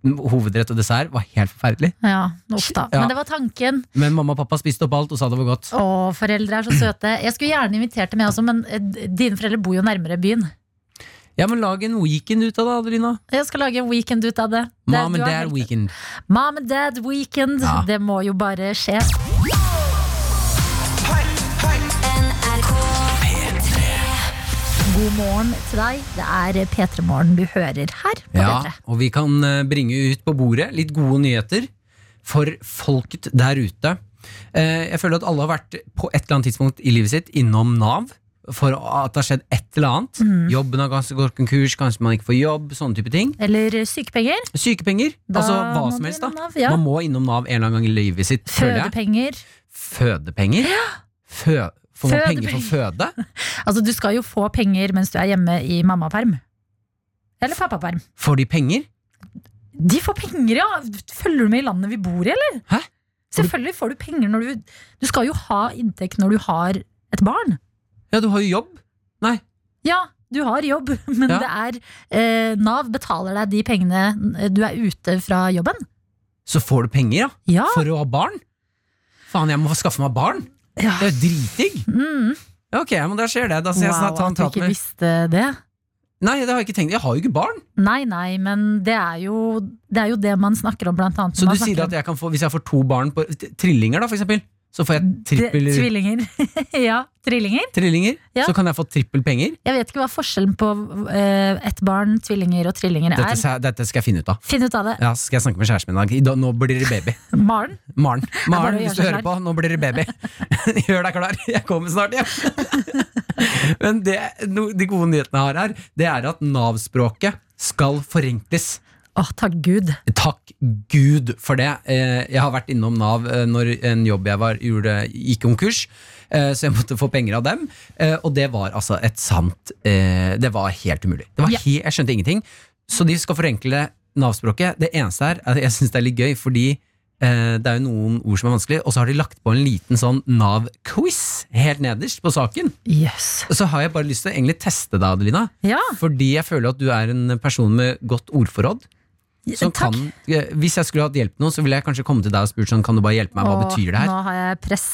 Hovedrett og dessert var helt forferdelig.
Ja, uff da.
Ja.
Men det var tanken.
Men mamma og pappa spiste opp alt og sa det var godt.
Å, foreldre er så søte. Jeg skulle gjerne invitert dem, jeg også, men eh, d- dine foreldre bor jo nærmere byen.
Ja, men lag en weekend ut av det, Adelina.
Jeg skal lage en weekend ut av det. Det-
Mom
du
and
har
dad
helt-
weekend.
Mom and dad weekend.
Ja.
Det må jo bare skje. God morgen til deg. Det er P3 Morgen du hører her. på
Ja,
P3.
og vi kan eh, bringe ut på bordet litt gode nyheter for folket der ute. Eh, Jeg føler at alle har vært på et eller annet tidspunkt i livet sitt innom Nav for at det har skjedd et eller annet.
Mhm.
Jobben har kanskje gått konkurs, kanskje man ikke får jobb, sånne type ting.
Eller sykepenger.
Sykepenger,
Da
altså hva
må
som
du
helst da.
innom Nav, ja.
Man må innom Nav en eller annen gang i livet sitt, føler jeg.
Fødepenger.
Fødepenger? Fø får man
Fødepenger.
penger for føde?
Altså, du skal jo få penger mens du er hjemme i mammaperm. Eller pappaperm.
Får de penger?
De får penger, ja! Følger du med i landet vi bor i, eller?
Hæ?
Selvfølgelig får du penger når du Du skal jo ha inntekt når du har et barn.
Ja, du har jo jobb. Nei,
Ja, du har jobb, [laughs] men
Ja.
det er eh, Nav betaler deg de pengene eh, du er ute fra jobben.
så får du penger ja,
Ja.
for å ha barn. Faen, jeg må skaffe meg barn.
ja.
Det er jo dritdigg!
Mm.
Ja, Ok, men da skjer det. Da skal Altså, jeg sånn
Wow,
snart ta en
at du
prat
ikke
med
visste det.
Nei, det har jeg ikke tenkt. Jeg har jo ikke barn!
Nei, nei, men det er jo det, er jo det man snakker om, blant annet.
Så
når man
du sier
snakker
at jeg kan få, hvis jeg får to barn på t- trillinger, da, for eksempel, så får jeg trippel
Det- [laughs] Tvillinger. [laughs] ja, trillinger.
trillinger.
Ja.
Så kan jeg få trippel penger.
Jeg vet ikke hva forskjellen på eh, ett barn, tvillinger og trillinger
Dette,
er.
sa- dette skal jeg finne ut av.
Finn ut av det.
Ja, så skal jeg snakke med kjæresten min i dag. I dag. Nå blir det baby.
Maren. [laughs] bare
Maren,
sånn
Maren
å gjøre
hvis du
seg
hører på,
klar.
nå blir det baby. [laughs] Gjør deg klar, jeg kommer snart hjem. [laughs] Men det, no, de gode nyhetene jeg har her, det er at Nav-språket skal forenkles.
Å, takk Gud.
Takk Gud for det. Eh, Jeg har vært innom Nav eh, når en jobb jeg var, gjorde, gikk konkurs, eh, så jeg måtte få penger av dem. Eh, Og det var altså et sant eh, Det var helt umulig. Det var
Ja.
he jeg skjønte ingenting. Så de skal forenkle Nav-språket. Det eneste er at jeg syns det er litt gøy, fordi eh, det er jo noen ord som er vanskelig, og så har de lagt på en liten sånn Nav-quiz helt nederst på saken.
Jøss.
Så har jeg bare lyst til å egentlig teste deg, Adelina,
Ja,
fordi jeg føler at du er en person med godt ordforråd som
takk.
kan, eh, hvis jeg skulle hatt hjelp til noe, så ville jeg kanskje komme til deg og spurt sånn, kan du bare hjelpe meg, hva
Og
betyr det her?
Nå har jeg press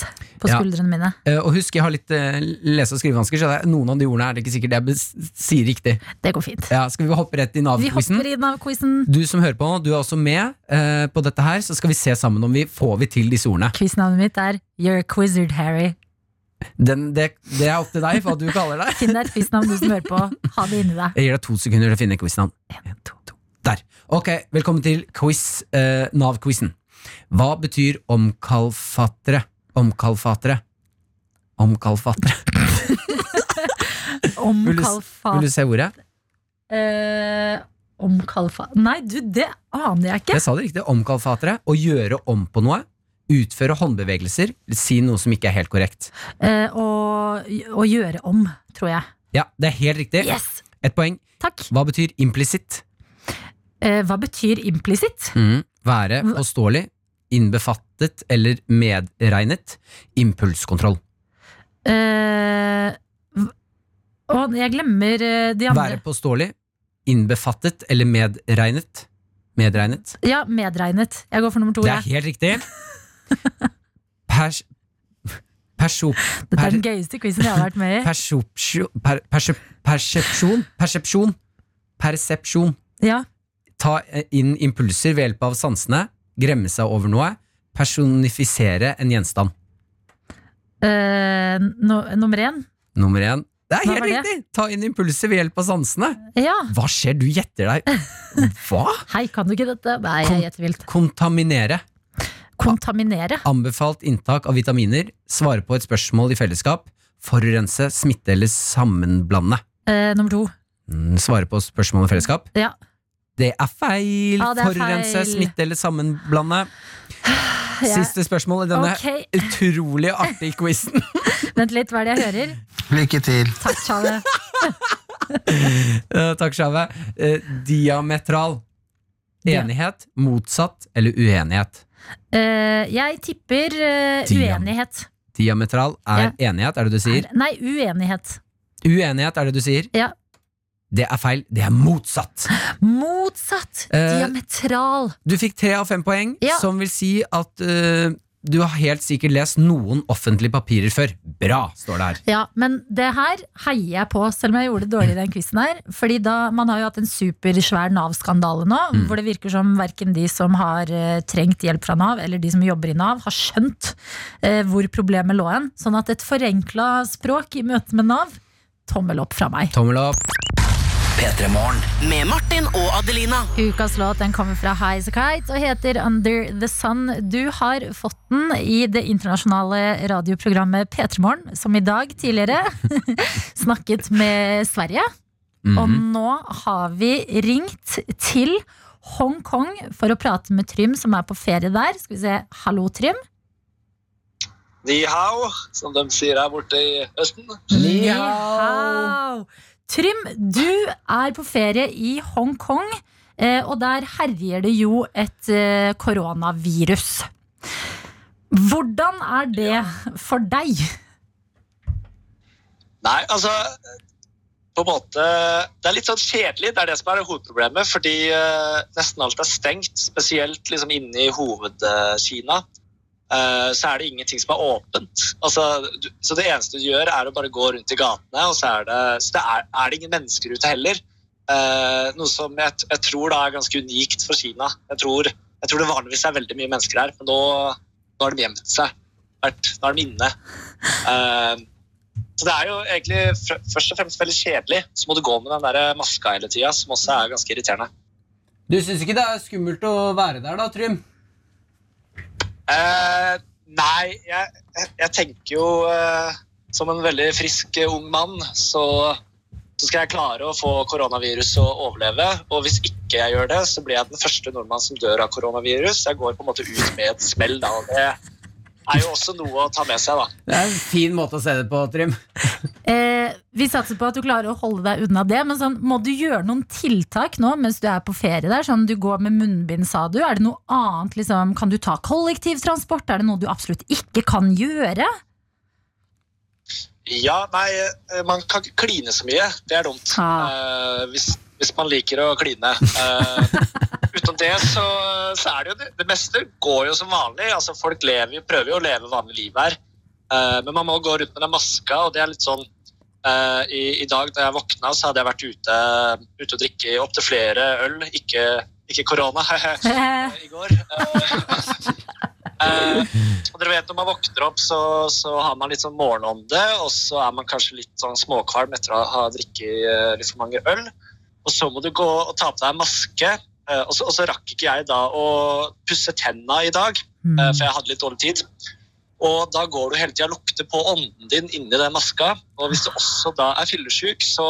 på
Ja.
skuldrene mine.
Eh, Og husk, jeg har litt eh, lese- og skrivevansker, så det er noen av de ordene er det ikke sikkert jeg bes- sier riktig.
Det går fint.
Ja, skal vi hoppe rett i
Vi
Nav-quizen?
hopper i Nav-quizen.
Du som hører på, du er også med eh, på dette her, så skal vi se sammen om vi får vi til disse ordene.
Quiznavnet mitt er You're a Quizzard, Harry.
Den, det, det er opp til deg, hva du kaller deg.
Finn deg et quiznavn, du som hører på. Ha det inni deg.
Jeg gir deg to sekunder til å finne quiznavn. Der. Ok, velkommen til quiz, eh, Nav-quizen. Hva betyr omkalfatre? Omkalfatre? Omkalfatre. Vil du s-
Omkalfa...
Vil du se ordet?
Eh, omkalfa... Nei, du, det aner jeg ikke.
Jeg sa det riktig. Omkalfatre. Å gjøre om på noe. Utføre håndbevegelser. Si noe som ikke er helt korrekt.
Eh, å, å gjøre om, tror jeg.
Ja, det er helt riktig.
Yes!
Ett poeng.
Takk.
Hva betyr implisitt? Mm.
Eh, hva betyr implisitt?
Være
Hva-
påståelig. Innbefattet eller medregnet. Impulskontroll.
Eh, v- å, jeg glemmer eh, de andre.
Være påståelig. Innbefattet eller medregnet. Medregnet.
Ja, medregnet. Jeg går for nummer to.
Det er
jeg.
helt riktig.
[laughs]
Pers... Perso...
Dette er
Per,
den gøyeste quizen jeg har vært med i.
persepsjon per, persep, Persepsjon? Persepsjon. Persepsjon.
Ja.
Ta eh, inn impulser ved hjelp av sansene. Gremme seg over noe. Personifisere en gjenstand.
Eh, no, nummer én.
Nummer én. Det er
Hva
helt
var det?
riktig! Ta inn impulser ved hjelp av sansene.
Ja.
Hva skjer? Du
[laughs]
gjetter deg. Hva?
Hei, kan du ikke dette? Nei, jeg gjetter vilt.
Kontaminere.
Kontaminere.
Anbefalt inntak av vitaminer. Svare på et spørsmål i fellesskap. Forurense, smitte eller sammenblande.
Eh, nummer to.
Mm, Svare på spørsmål i fellesskap.
Ja.
Det er feil!
Ja, Ah, det er
Forurense,
feil.
smitte eller sammenblande. Siste spørsmål i denne
Ok,
utrolig
[laughs]
artige quizen.
vent litt, hva er det jeg hører?
Lykke til.
Takk, Tjale.
Eh, Takk, Shave. Eh, diametral. Enighet, motsatt eller uenighet?
Eh, jeg tipper eh,
Diam.
uenighet.
Diametral er enighet, er det du sier?
Nei, uenighet.
Uenighet, er det du sier?
Ja.
Det er feil. Det er motsatt.
Motsatt.
Eh,
Diametral.
Du fikk tre av fem poeng,
Ja.
som vil si at eh, du har helt sikkert lest noen offentlige papirer før. Bra, står det her.
Ja, men det her heier jeg på, selv om jeg gjorde det dårlig i den quizen her. Fordi da, man har jo hatt en supersvær Nav-skandale nå, hvor det virker som verken de som har eh, trengt hjelp fra Nav, eller de som jobber i Nav, har skjønt eh, hvor problemet lå hen. Sånn at et forenkla språk i møte med Nav, tommel opp fra meg.
Tommel opp.
Med Martin og Adelina.
Ukas låt den kommer fra Highas Kite og heter Under the Sun. Du har fått den i det internasjonale radioprogrammet P3 Morgen, som i dag tidligere [laughs] snakket med Sverige.
Mhm.
Og nå har vi ringt til Hongkong for å prate med Trym, som er på ferie der. Skal vi se. Hallo, Trym.
Ni hao, som de sier her borte i Østen.
Ni hao.
hao. Trym, du er på ferie i Hongkong, eh, og der herjer det jo et eh, koronavirus. Hvordan er det for deg?
Nei, altså på en måte, Det er litt sånn kjedelig, det er det som er hovedproblemet. Fordi eh, nesten alt er stengt, spesielt liksom inne i hovedkina. Eh, så er det ingenting som er åpent. Altså, du, så det eneste du gjør, er å bare gå rundt i gatene. og Så er det, så det, er, er det ingen mennesker ute heller. Eh, noe som jeg, t- jeg tror da er ganske unikt for Kina. Jeg tror, jeg tror det vanligvis er veldig mye mennesker her, men nå, nå har de gjemt seg. vært, nå er de inne. Eh, så det er jo egentlig fr- først og fremst veldig kjedelig. Så må du gå med den der maska hele tida, som også er ganske irriterende.
Du syns ikke det er skummelt å være der, da, Trym?
Eh, nei, jeg, jeg- jeg tenker jo eh, Som en veldig frisk eh, ung mann, så, så skal jeg klare å få koronavirus og overleve. Og hvis ikke jeg gjør det, så blir jeg den første nordmann som dør av koronavirus. Jeg går på en måte ut med et smell, da. Og det er jo også noe å ta med seg, da.
Det er en fin måte å se det på, Trym.
Eh, vi satser på at du klarer å holde deg unna det, men sånn, må du gjøre noen tiltak nå mens du er på ferie der? Sånn, du går med munnbind, sa du. Er det noe annet? Liksom, kan du ta kollektivtransport? Er det noe du absolutt ikke kan gjøre?
Ja, nei, eh, man kan ikke kline så mye. Det er dumt. Eh, hvis, hvis man liker å kline. Eh, utenom det så, så er det jo det, det meste går jo som vanlig. Altså, folk lever, jo- prøver jo å leve vanlig liv her. Eh, men man må gå rundt med den maska, og det er litt sånn eh, i, I dag da jeg våkna, så hadde jeg vært ute, ute og drikke opptil flere øl. Ikke, ikke korona.
[laughs] Eh,
i går. Eh, eh, og dere vet Når man våkner opp, så, så har man litt sånn morgenånde, og så er man kanskje litt sånn småkvalm etter å ha drikket eh, litt for mange øl. Og så må du gå og ta på deg maske. eh, og, så, og så rakk ikke jeg da å pusse tenna i dag,
Mm.
eh, for jeg hadde litt dårlig tid. Og da går du hele tida og lukter på ånden din inni den maska. Og hvis du også da er fyllesyk, så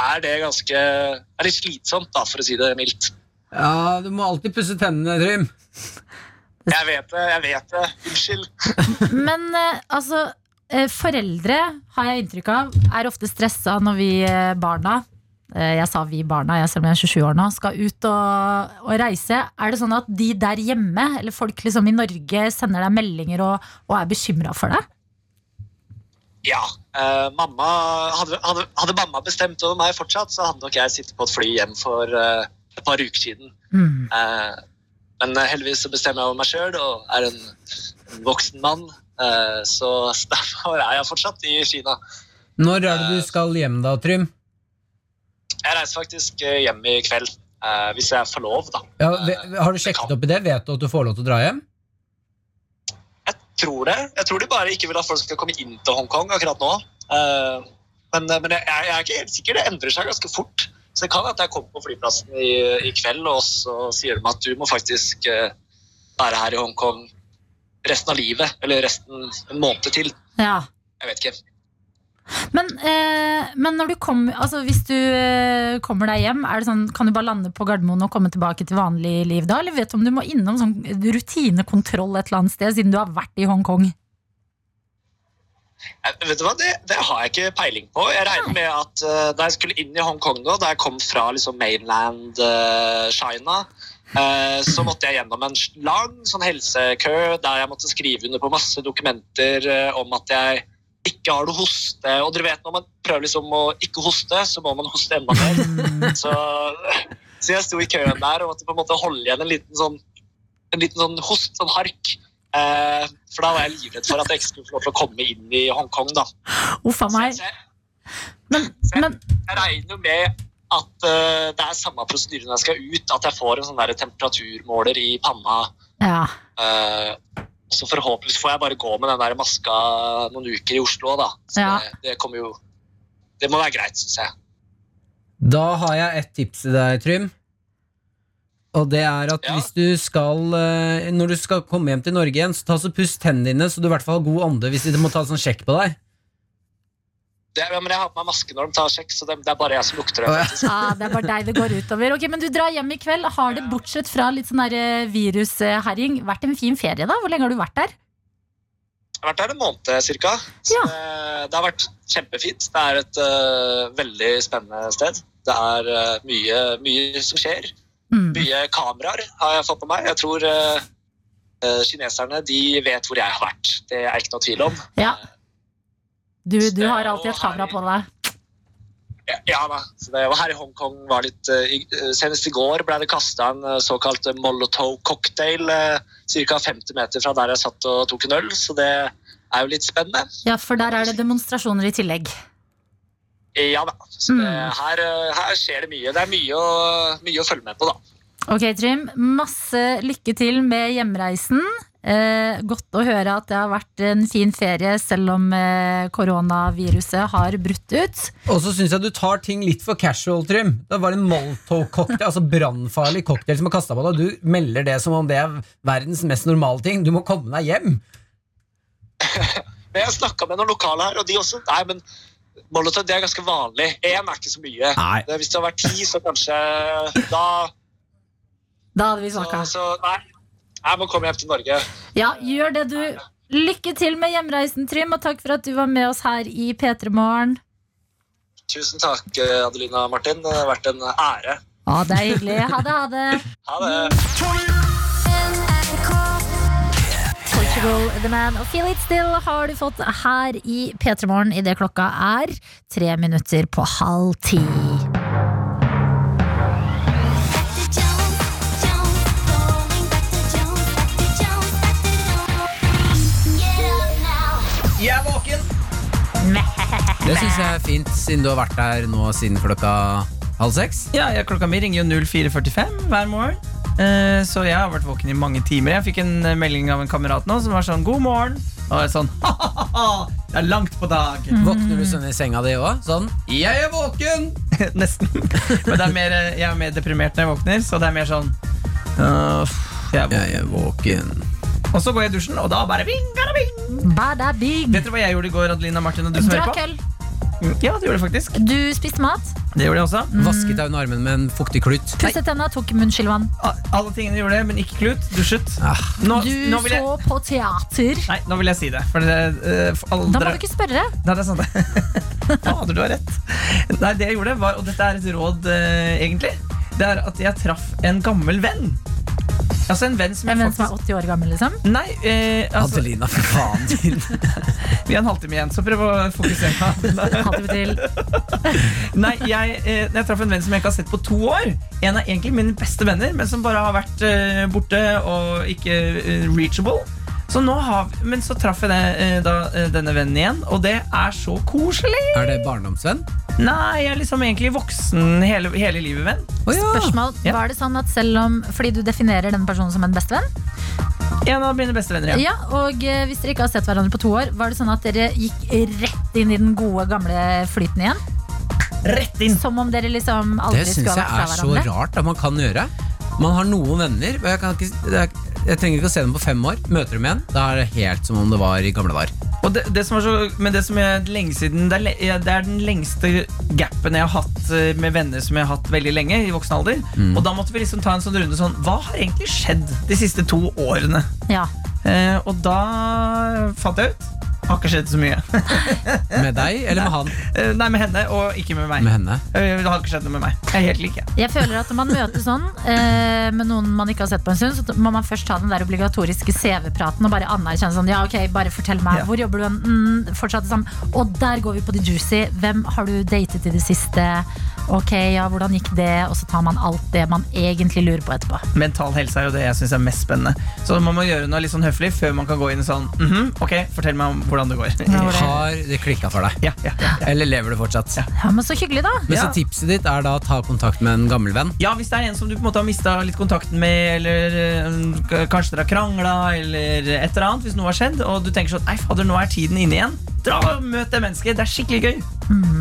er det ganske er litt slitsomt, da, for å si det mildt.
Ja, du må alltid pusse tennene, Trym.
Jeg vet det, jeg vet det. Unnskyld.
Men eh, altså, eh, foreldre, har jeg inntrykk av, er ofte stressa når vi eh, barna eh, jeg sa vi barna, jeg, selv om jeg er 27 år nå, skal ut og, og reise. Er det sånn at de der hjemme, eller folk liksom i Norge, sender deg meldinger og, og er bekymra for deg?
Ja. eh, mamma, hadde, hadde, hadde mamma bestemt over meg fortsatt, så hadde nok jeg sittet på et fly hjem for eh, et par uker siden. Eh, men eh, heldigvis så bestemmer jeg over meg sjøl og er en, en voksen mann. eh, så [laughs] så derfor er jeg fortsatt i Kina.
Når er det du skal hjem, da, Trym?
Jeg reiser faktisk eh, hjem i kveld, eh, hvis jeg får lov, da.
Ja, ve- har du sjekket opp i det? Vet du at du får lov til å dra hjem?
Tror det. Jeg tror de bare ikke vil at folk skal komme inn til Hongkong akkurat nå. Eh, men men jeg, jeg er ikke helt sikker. Det endrer seg ganske fort. Så det kan være at jeg kommer på flyplassen i, i kveld, og så sier de at du må faktisk eh, være her i Hongkong resten av livet. Eller resten en måned til.
Ja.
Jeg vet ikke.
Men, eh, men når du kommer- altså, hvis du eh, kommer deg hjem, er det sånn, kan du bare lande på Gardermoen og komme tilbake til vanlig liv da? Eller vet du om du må innom sånn rutinekontroll et eller annet sted, siden du har vært i Hongkong?
Jeg, Eh, vet du hva, det, det har jeg ikke peiling på. Jeg regner med at eh, da jeg skulle inn i Hongkong nå, da jeg kom fra liksom mainland eh, China, eh, så måtte jeg gjennom en lang sånn helsekø der jeg måtte skrive under på masse dokumenter eh, om at jeg ikke har noe hoste. Og dere vet, når man prøver liksom å ikke hoste, så må man hoste enda mer. Så, så jeg sto i køen der og måtte på en måte holde igjen en liten sånn, en liten sånn host, sånn hark. Eh, for da var jeg livredd for at jeg ikke skulle få lov til å komme inn i Hongkong, da.
Uff a meg.
Så jeg, jeg regner jo med at eh, det er samme prosedyre når jeg skal ut, at jeg får en sånn der temperaturmåler i panna.
Ja.
Eh, så forhåpentligvis får jeg bare gå med den der maska noen uker i Oslo, da. Så
Ja.
det, det kommer jo Det må være greit, syns jeg.
Da har jeg et tips til deg, Trym. Og det er at hvis du skal eh, Når du skal komme hjem til Norge igjen, så ta så puss tennene dine, så du i hvert fall har god ånde hvis de må ta en sånn sjekk på deg.
Det, ja, men jeg har på meg maske når de tar sjekk, så det, det er bare jeg som lukter det. faktisk.
Ah, det er bare deg det går utover. Ok, Men du drar hjem i kveld. Har det, bortsett fra litt sånn der, eh, virusherjing, vært en fin ferie, da? Hvor lenge har du vært der?
Jeg har vært her en måned cirka. Så det, det har vært kjempefint. Det er et øh, veldig spennende sted. Det er øh, mye, mye som skjer.
Mm.
Mye kameraer har jeg fått med meg. Jeg tror øh, øh, kineserne de vet hvor jeg har vært. Det er ikke noe tvil om.
Ja. Du, du har alltid et kamera på deg.
Ja, ja da. Så det, og her i Hongkong var litt øh, i- øh, Senest i går ble det kasta en øh, såkalt molotov cocktail uh, ca. 50 meter fra der jeg satt og tok en øl, så det er jo litt spennende.
Ja, For der er det demonstrasjoner i tillegg.
Ja da. Så det, her, eh, her skjer det mye. Det er mye å, mye å følge med på, da.
Ok, Trym. Masse lykke til med hjemreisen. Eh, godt å høre at det har vært en fin ferie, selv om eh, koronaviruset har brutt ut.
Og så syns jeg du tar ting litt for casual, Trym. Det var en Molotov-cocktail, altså brannfarlig cocktail som er kasta på deg. Du melder det som om det er verdens mest normale ting. Du må komme deg hjem.
Men jeg snakka med noen lokale her, og de også Nei, men Molotov det er ganske vanlig. Én er ikke så mye. Det, hvis det har vært ti, så kanskje Da
Da hadde vi
så,
snakka.
så Nei, jeg må komme hjem til Norge.
Ja, gjør det du. Lykke til med hjemreisen, Trym, og takk for at du var med oss her i P3 Morgen.
Tusen takk, Adelina og Martin. Det har vært en ære.
Ja, det er hyggelig. Ha det, ha det.
Ha det.
Portugal The Man og Feel It Still har du fått her i P3 Morgen idet klokka er tre minutter på halv ti.
Jeg er våken! Det syns jeg er fint, siden du har vært der nå siden klokka halv seks.
Ja, ja, klokka mi ringer jo 04.45 hver morgen. Eh, Så jeg har vært våken i mange timer. Jeg fikk en eh, melding av en kamerat nå som var sånn 'god morgen'. Og jeg sånn [laughs] ha-ha-ha, det er langt på dag.
Våkner du sånn i senga di òg? Sånn? Jeg er våken!
[laughs] Nesten. Men det er mer, eh, jeg er mer deprimert når jeg våkner, så det er mer sånn «Åh, jeg er våken.
Jeg er våken.
Og så går jeg i dusjen, og da bare bing, bada, bing.
Bada bing!
Vet dere hva jeg gjorde i går, Adelina Martin og du som hører
Drakk
på?
øl.
Ja, det gjorde jeg faktisk.
Du spiste mat.
Det gjorde jeg også.
Mm.
Vasket deg under armen med en fuktig klut.
Pusset tenna, tok munnskylvann.
A- Alle tingene gjorde det, men ikke klut. Dusjet.
Ah.
Nå,
Du
nå vil jeg
så på teater.
Nei, nå vil jeg si det. For det, eh, for alle
Da må
dere-
du ikke spørre.
Nei, det er sant [laughs] det. Fader, du har rett. Nei, det jeg gjorde, var, og dette er et råd, eh, egentlig, det er at jeg traff en gammel venn. Altså en venn som jeg
En venn som er
faktisk
80 år gammel, liksom.
Nei, eh, altså,
Adelina, for faen din.
[laughs]
vi har en halvtime igjen, så prøv å [laughs] fokusere.
Halvtime til.
Nei, jeg, eh, jeg traff en venn som jeg ikke har sett på to år. En av egentlig mine beste venner, men som bare har vært eh, borte og ikke eh, reachable. Så nå har vi, men så traff jeg det, eh, da, eh, denne vennen igjen, og det er så koselig!
Er det barndomsvenn?
Nei, jeg er liksom egentlig voksen hele, hele livet, venn.
Å ja.
Spørsmål.
Ja.
Var det sånn at selv om Fordi du definerer denne personen som en bestevenn.
En av mine beste venner, ja.
Ja, og eh, hvis dere ikke har sett hverandre på to år, var det sånn at dere gikk rett inn i den gode, gamle flyten igjen?
Rett inn!
Som om dere liksom
Det
aldri
syns
skulle
jeg
ha vært
er
fra
så
hverandre?
rart at man kan gjøre. Man har noen venner, og jeg, kan ikke, det er- jeg trenger ikke å se dem på fem år. Møter dem igjen, da er det helt som om det var i gamle dager.
Og det, det som er så, men det som er lenge siden det er, le, ja, det er den lengste gapen jeg har hatt eh, med venner som jeg har hatt veldig lenge, i voksen alder.
Mm.
Og da måtte vi liksom ta en sånn runde sånn Hva har egentlig skjedd de siste to årene?
Ja.
Eh, og da fant jeg ut Har ikke skjedd så mye. [laughs]
Med deg eller med han?
Eh, Nei, med henne, og ikke med meg.
Med henne.
Eh, Det har ikke skjedd noe med meg. Jeg er helt lik, jeg.
Jeg føler at når man møter sånn eh, med noen man ikke har sett på en stund, så må man først ta den der obligatoriske CV-praten og bare anerkjenne sånn Ja, ok, bare fortell meg.
Ja.
Hvor jobber du? Mm, fortsatt det samme. Og der går vi på de juicy. Hvem har du datet i det siste? Ok, ja, hvordan gikk det? Og så tar man alt det man egentlig lurer på etterpå.
Mental helse er jo det jeg syns er mest spennende. Så man må gjøre noe litt sånn høflig før man kan gå inn sånn «Mhm, Ok, fortell meg om hvordan det går.
Har det klikka for deg?
[laughs] Ja, ja, ja.
Eller lever du fortsatt?
Ja, men så hyggelig, da.
Men
Ja.
så tipset ditt er da å ta kontakt med en gammel venn.
Ja, hvis det er en som du på en måte har mista litt kontakten med, eller eh, k- kanskje dere har krangla, eller et eller annet, hvis noe har skjedd, og du tenker sånn Nei, fader, nå er tiden inne igjen. Dra og møt det mennesket. Det er skikkelig gøy.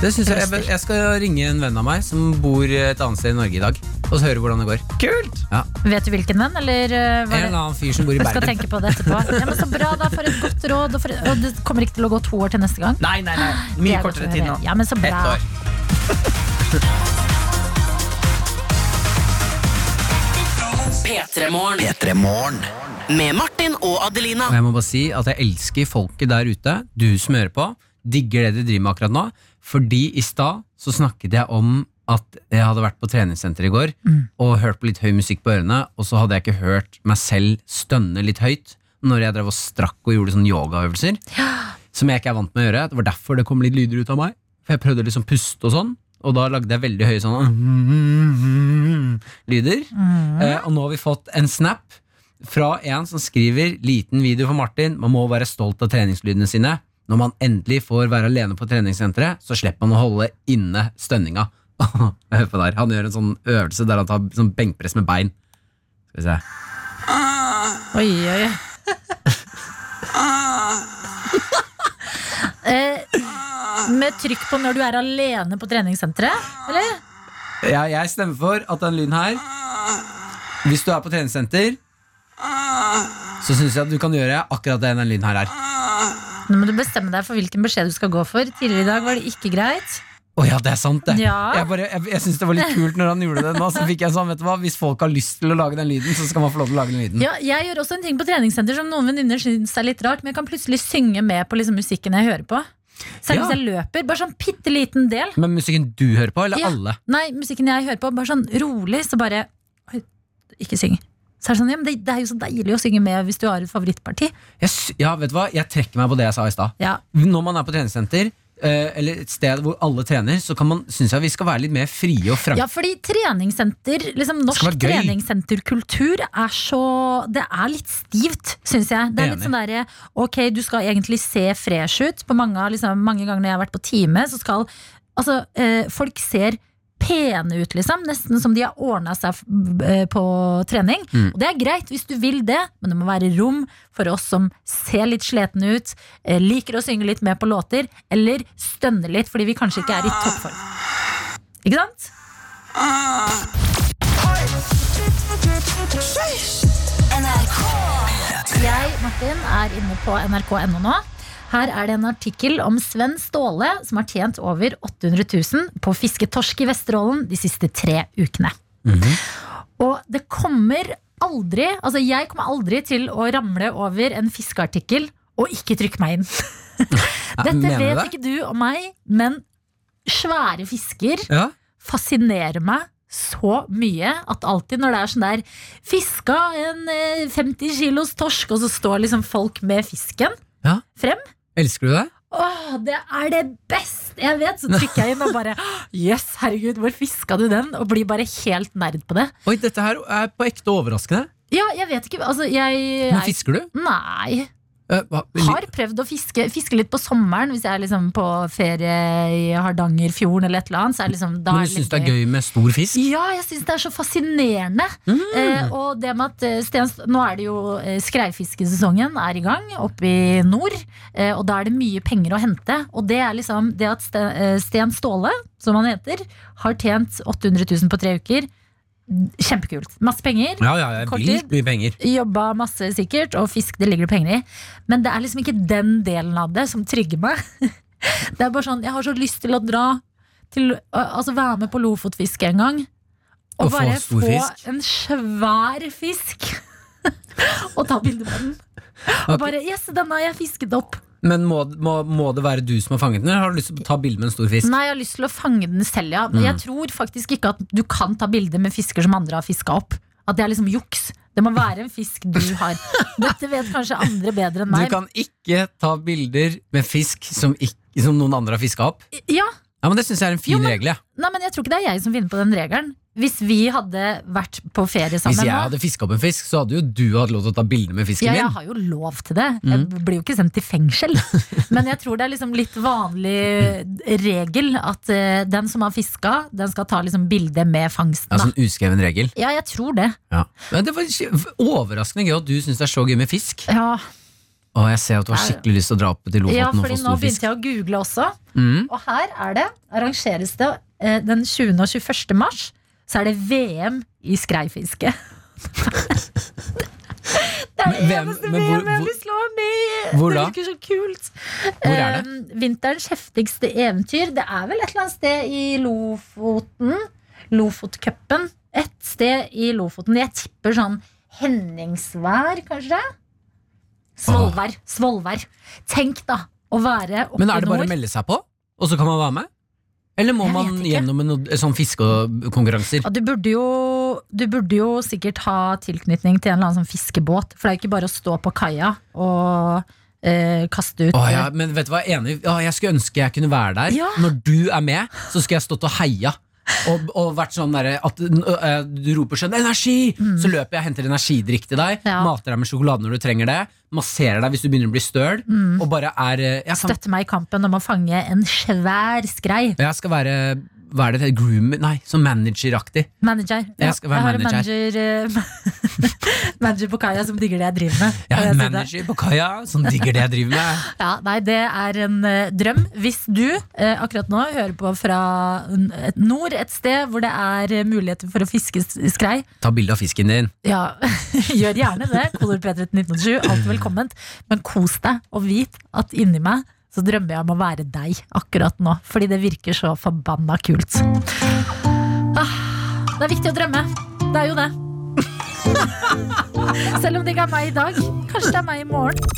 Det synes jeg, jeg, jeg skal ringe en venn av meg som bor et annet sted i Norge i dag, og så høre hvordan det går.
Kult!
Vet du hvilken venn, eller eh,
En
var det
eller annen fyr som bor i
Jeg skal
Bergen.
tenke på det etterpå. Ja, men så bra, da. For et godt råd. Og, for, og det kommer ikke til å gå to år til neste gang.
Nei, nei, nei.
Det
Mye
er godt å
kortere tid nå.
høre. Ja, men så
Ett
bra.
år.
P3-morgen. Med Martin og Adelina.
Og jeg må bare si at jeg elsker folket der ute, du som hører på, digger det du driver med akkurat nå, fordi i stad så snakket jeg om at jeg hadde vært på treningssenter i går
Mm.
og hørt på litt høy musikk på ørene, og så hadde jeg ikke hørt meg selv stønne litt høyt når jeg drev og strakk og gjorde sånne yogaøvelser, som jeg ikke er vant med å gjøre. Det var derfor det kom litt lyder ut av meg, for jeg prøvde liksom puste og sånn, og da lagde jeg veldig høye sånne lyder. Eh, og nå har vi fått en snap fra en som skriver liten video for Martin. Man må være stolt av treningslydene sine. Når man endelig får være alene på treningssenteret, så slipper man å holde inne stønninga. [laughs] Hør på der. Han gjør en sånn øvelse der han tar sånn benkpress med bein. Skal vi se.
Oi, oi, oi. [laughs] Eh, med trykk på når du er alene på treningssenteret, eller?
Ja, jeg stemmer for at den lyden her Hvis du er på treningssenter, så syns jeg at du kan gjøre akkurat det den lyden her er.
Nå må du bestemme deg for hvilken beskjed du skal gå for. Tidligere i dag var det ikke greit.
Å ja, det er sant, det.
Ja.
Jeg, bare- jeg, jeg syns det var litt kult når han gjorde det nå. Så fikk jeg sånn, vet du hva Hvis folk har lyst til å lage den lyden, så skal man få lov til å lage den lyden.
Ja, jeg gjør også en ting på treningssenter som noen venninner syns er litt rart, men jeg kan plutselig synge med på liksom musikken jeg hører på. Selv
Ja.
hvis jeg løper. Bare sånn bitte liten del.
Men musikken du hører på, eller
Ja.
alle?
Nei, musikken jeg hører på, bare sånn rolig, så bare Oi, ikke syng. Så er det sånn, ja, men det, det er jo så deilig å synge med hvis du har et favorittparti.
Jeg, sy- ja, vet du hva? Jeg trekker meg på det jeg sa i stad.
Ja.
Når man er på treningssenter, eh, eller et sted hvor alle trener, så kan man, synes jeg vi skal være litt mer frie og franke.
Ja, fordi treningssenter, liksom
Skal
norsk
være gøy.
treningssenterkultur er så Det er litt stivt, syns jeg. Det er litt
Enig.
sånn derre Ok, du skal egentlig se fresh ut. På mange, av- liksom, mange ganger når jeg har vært på time, så skal Altså, eh, folk ser pene ut, liksom. Nesten som de har ordna seg f- b- eh, på trening.
Mm.
Og det er greit hvis du vil det, men det må være rom for oss som ser litt sletne ut, eh, liker å synge litt med på låter, eller stønner litt fordi vi kanskje ikke er i toppform. Ikke sant? Jeg, Martin, er inne på nrk.no nå. Her er det en artikkel om Sven Ståle, som har tjent over 800 000 på å fiske torsk i Vesterålen de siste tre ukene.
Mhm.
Og det kommer aldri Altså, jeg kommer aldri til å ramle over en fiskeartikkel og ikke trykke meg
[laughs]
inn. Dette
mener du
vet
det?
ikke du og meg, men svære fisker
Ja.
fascinerer meg så mye at alltid når det er sånn der Fiska en eh, 50 kilos torsk, og så står liksom folk med fisken
Ja.
frem.
Elsker du det?
Åh, det er det beste jeg vet! Så trykker jeg inn og bare Yes, herregud, hvor fiska du den? Og blir bare helt nerd på det.
Oi, dette her er på ekte overraskende.
Ja, jeg vet ikke altså, jeg,
Men fisker du?
Nei.
Eh, hva-
Har prøvd å fiske, fiske litt på sommeren hvis jeg er liksom på ferie i Hardangerfjorden eller et eller annet. Så er liksom, da
men du
litt
syns det er gøy med stor fisk?
Ja, jeg syns det er så fascinerende. Eh, og det med at eh, Stens, Nå er det jo eh, skreifiskesesongen er i gang oppe i nord. Eh, og da er det mye penger å hente. Og det er liksom det at Sten, eh, Sten Ståle, som han heter, har tjent 800 000 på tre uker. Kjempekult. Masse penger.
Ja, ja, ja
Kort
vilt mye penger.
Jobba masse sikkert, og fisk det ligger det penger i. Men det er liksom ikke den delen av det som trygger meg. [laughs] Det er bare sånn, Jeg har så lyst til å dra til, ø, Altså være med på lofotfiske en gang. Og,
Og få
bare
stor
få
fisk.
en svær fisk. [laughs] og ta bilde med den. Og
Ok.
bare Yes, den har jeg fisket opp.
Men må, må, må det være du som har fanget den, eller har du lyst til å ta bilde med en stor fisk?
Nei, jeg har lyst til å fange den selv, ja. Men
Mm.
jeg tror faktisk ikke at du kan ta bilder med fisker som andre har fiska opp. At det er liksom juks. Det må være en fisk du har. Dette vet kanskje andre bedre enn
Du
meg.
kan ikke ta bilder med fisk som, ikk- som noen andre har fiska opp.
Ja,
Ja, men Det syns jeg er en fin regel. Ja.
Nei, men jeg tror ikke det er jeg som vinner på den regelen. Hvis vi hadde vært på ferie sammen
Hvis jeg
nå-
hadde fiska opp en fisk, så hadde jo du hatt lov til å ta bilde med fisken
ja, jeg
min. Mm.
har jo lov til det. Jeg blir jo ikke sendt til
[laughs]
fengsel. Men jeg tror det er liksom litt vanlig regel at eh, den som har fiska, den skal ta liksom bilde med fangsten.
Ja,
da.
sånn uskreven regel.
Ja, jeg tror det.
Ja. Men det var ikke- overraskende gøy at du syns det er så gøy med fisk.
Ja,
Å, jeg ser at du har skikkelig lyst til å dra opp til Lofoten
ja
og
fordi
få
nå
stor fisk.
begynte jeg å google også.
Mm.
Og her er det, arrangeres det eh, den 20. og 21. mars, så er det VM i skreifiske. [laughs] Det er det
Men hvem-
eneste
men hvor-
VM jeg
hvor-
vil slå meg med!
Hvor
det
da?
virker så kult.
Hvor er
Um, vinterens heftigste eventyr. Det er vel et eller annet sted i Lofoten. Lofotcupen. Et sted i Lofoten. Jeg tipper sånn Henningsvær, kanskje? Svolvær. Svolvær. Tenk, da, å være oppe i nord.
Men er det bare å melde seg på, og så kan man være med? Eller må man gjennom en sånn fiskekonkurranser?
Ja, du, burde jo, du burde jo sikkert ha tilknytning til en eller annen sånn fiskebåt. For det er jo ikke bare å stå på kaia og eh, kaste ut
Å, ja, men vet du hva, enig Å, Jeg skulle ønske jeg kunne være der.
Ja.
Når du er med, så skulle jeg stått og heia. Og, og vært sånn derre at øh, du roper sånn 'energi!'
Mm.
Så løper jeg og henter energidrikk til deg, mater deg med sjokolade når du trenger det, masserer deg hvis du begynner å bli støl,
Mm.
og bare er øh, jeg, kan,
Støtte meg i kampen om å fange en svær skrei.
jeg skal være Hva er det? Groomer? Nei, sånn manageraktig.
Manager.
Jeg skal være
har en
manager.
manager, eh, [laughs] Manager på kaia som digger det jeg driver med.
Jeg
Kan
er en
si det?
manager på kaia som digger det jeg driver med.
Ja, nei, det er en eh, drøm. Hvis du eh, akkurat nå hører på fra n- et nord, et sted hvor det er eh, muligheter for å fiske s- skrei,
Ta bilde av fisken din.
ja, [laughs] gjør gjerne det. Kolor P3 1987, alt velkomment. Men kos deg, og vit at inni meg så drømmer jeg om å være deg akkurat nå. Fordi det virker så forbanna kult. Ah, det er viktig å drømme. Det er jo det. [laughs] Selv om det ikke er meg i dag. Kanskje det er meg i morgen.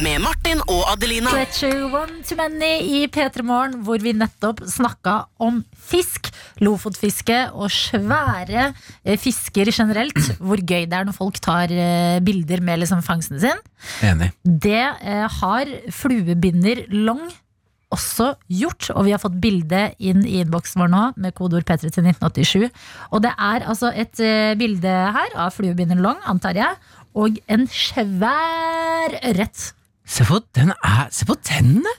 Med Martin og Adelina.
Fletcher One to Many i P3 Morgen, hvor vi nettopp snakka om fisk. Lofotfiske og svære eh, fisker generelt. Hvor gøy det er når folk tar eh, bilder med liksom fangsten sin.
Enig.
Det eh, har fluebinder Long også gjort, og vi har fått bilde inn i innboksen vår nå med kodeord P3 til 1987. Og det er altså et eh, bilde her av fluebinder Long, antar jeg, og en svær ørret.
Se på, den er, se på tennene!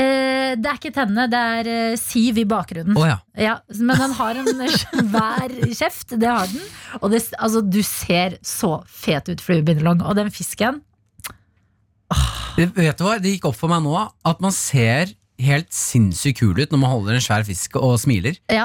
Eh, det er ikke tennene, det er eh, siv i bakgrunnen.
Å ja.
Ja, men den har en [laughs] svær kjeft, det har den. Og det, altså, du ser så fet ut, fluebindelong. Og den fisken
Vet du hva, Det gikk opp for meg nå at man ser helt sinnssykt kul ut når man holder en svær fisk og smiler.
ja,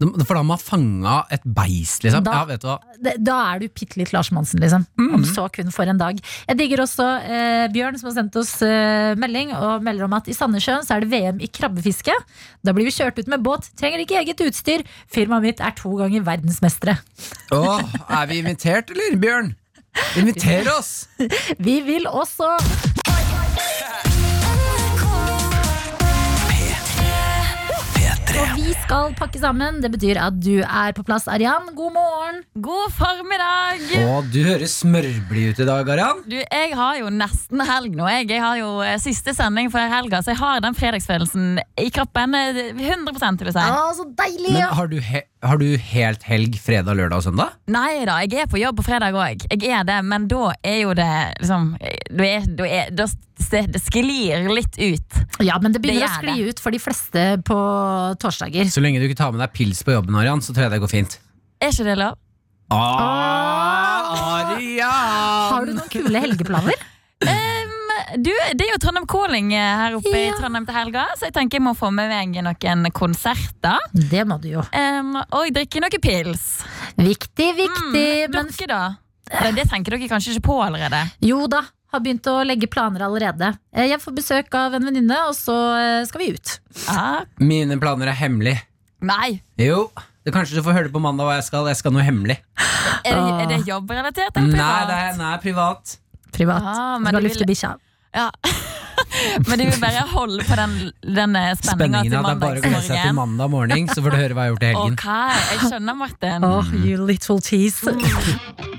De- For da har man fanga et beist, liksom.
Da-
ja, vet du hva?
det, Da er du bitte litt Lars Monsen, liksom.
Mm.
Om så kun for en dag. Jeg digger også eh, Bjørn, som har sendt oss eh, melding, og melder om at i Sandnessjøen så er det VM i krabbefiske. Da blir vi kjørt ut med båt, trenger ikke eget utstyr. Firmaet mitt er to ganger verdensmestere.
Åh, er vi invitert, eller, Bjørn? Inviter oss!
Vi vil også Og vi skal pakke sammen. Det betyr at du er på plass, Arian. God morgen.
God formiddag!
Å, du høres smørblid ut i dag, Arian.
Du, jeg har jo nesten helg nå. Jeg, jeg har jo eh, siste sending før helga, så jeg har den fredagsfølelsen i kroppen. eh, 100 vil jeg si.
Ja, så deilig!
Men har du, he har du helt helg fredag, lørdag og søndag?
Nei da, jeg er på jobb på fredag òg. Jeg er det, men da er jo det liksom Da, er, da, er, da s- det sklir litt ut.
Ja, men det begynner å
gjør
skli ut for de fleste på torsdager.
Så lenge du ikke tar med deg pils på jobben, Arian, så tror jeg det går fint.
Er ikke det lov?
Ah, Arian!
Har du noen kule
[laughs]
helgeplaner?
Em, du, det er jo Trondheim Calling eh, her oppe i Trondheim til helga, så jeg tenker jeg må få med meg noen konserter.
Det må du jo.
Em, og drikke noe pils.
Viktig, viktig. men
Dere, da? Det, det tenker dere kanskje ikke på allerede.
jo da, har begynt å legge planer allerede. Eh, Jeg får besøk av en venninne, og så eh, skal vi ut.
Ah,
Mine planer er hemmelig.
nei.
Jo, det kanskje du får høre det på mandag hva jeg skal. Jeg skal noe hemmelig.
Er det, er det jobbrelatert
Nei,
eller
det
privat?
er, nei, privat.
Privat.
Ah, men
skal
du
lufte
vil-
bikkja.
Ja. Men de vil bare holde på den, den spenninga
Spenningen
til
ja, det er bare å glede seg til
mandagsmorgen.
mandag morgen, så får du høre hva jeg har gjort i helgen.
Mm. Ok, jeg skjønner, Martin.
Oh, you little tease.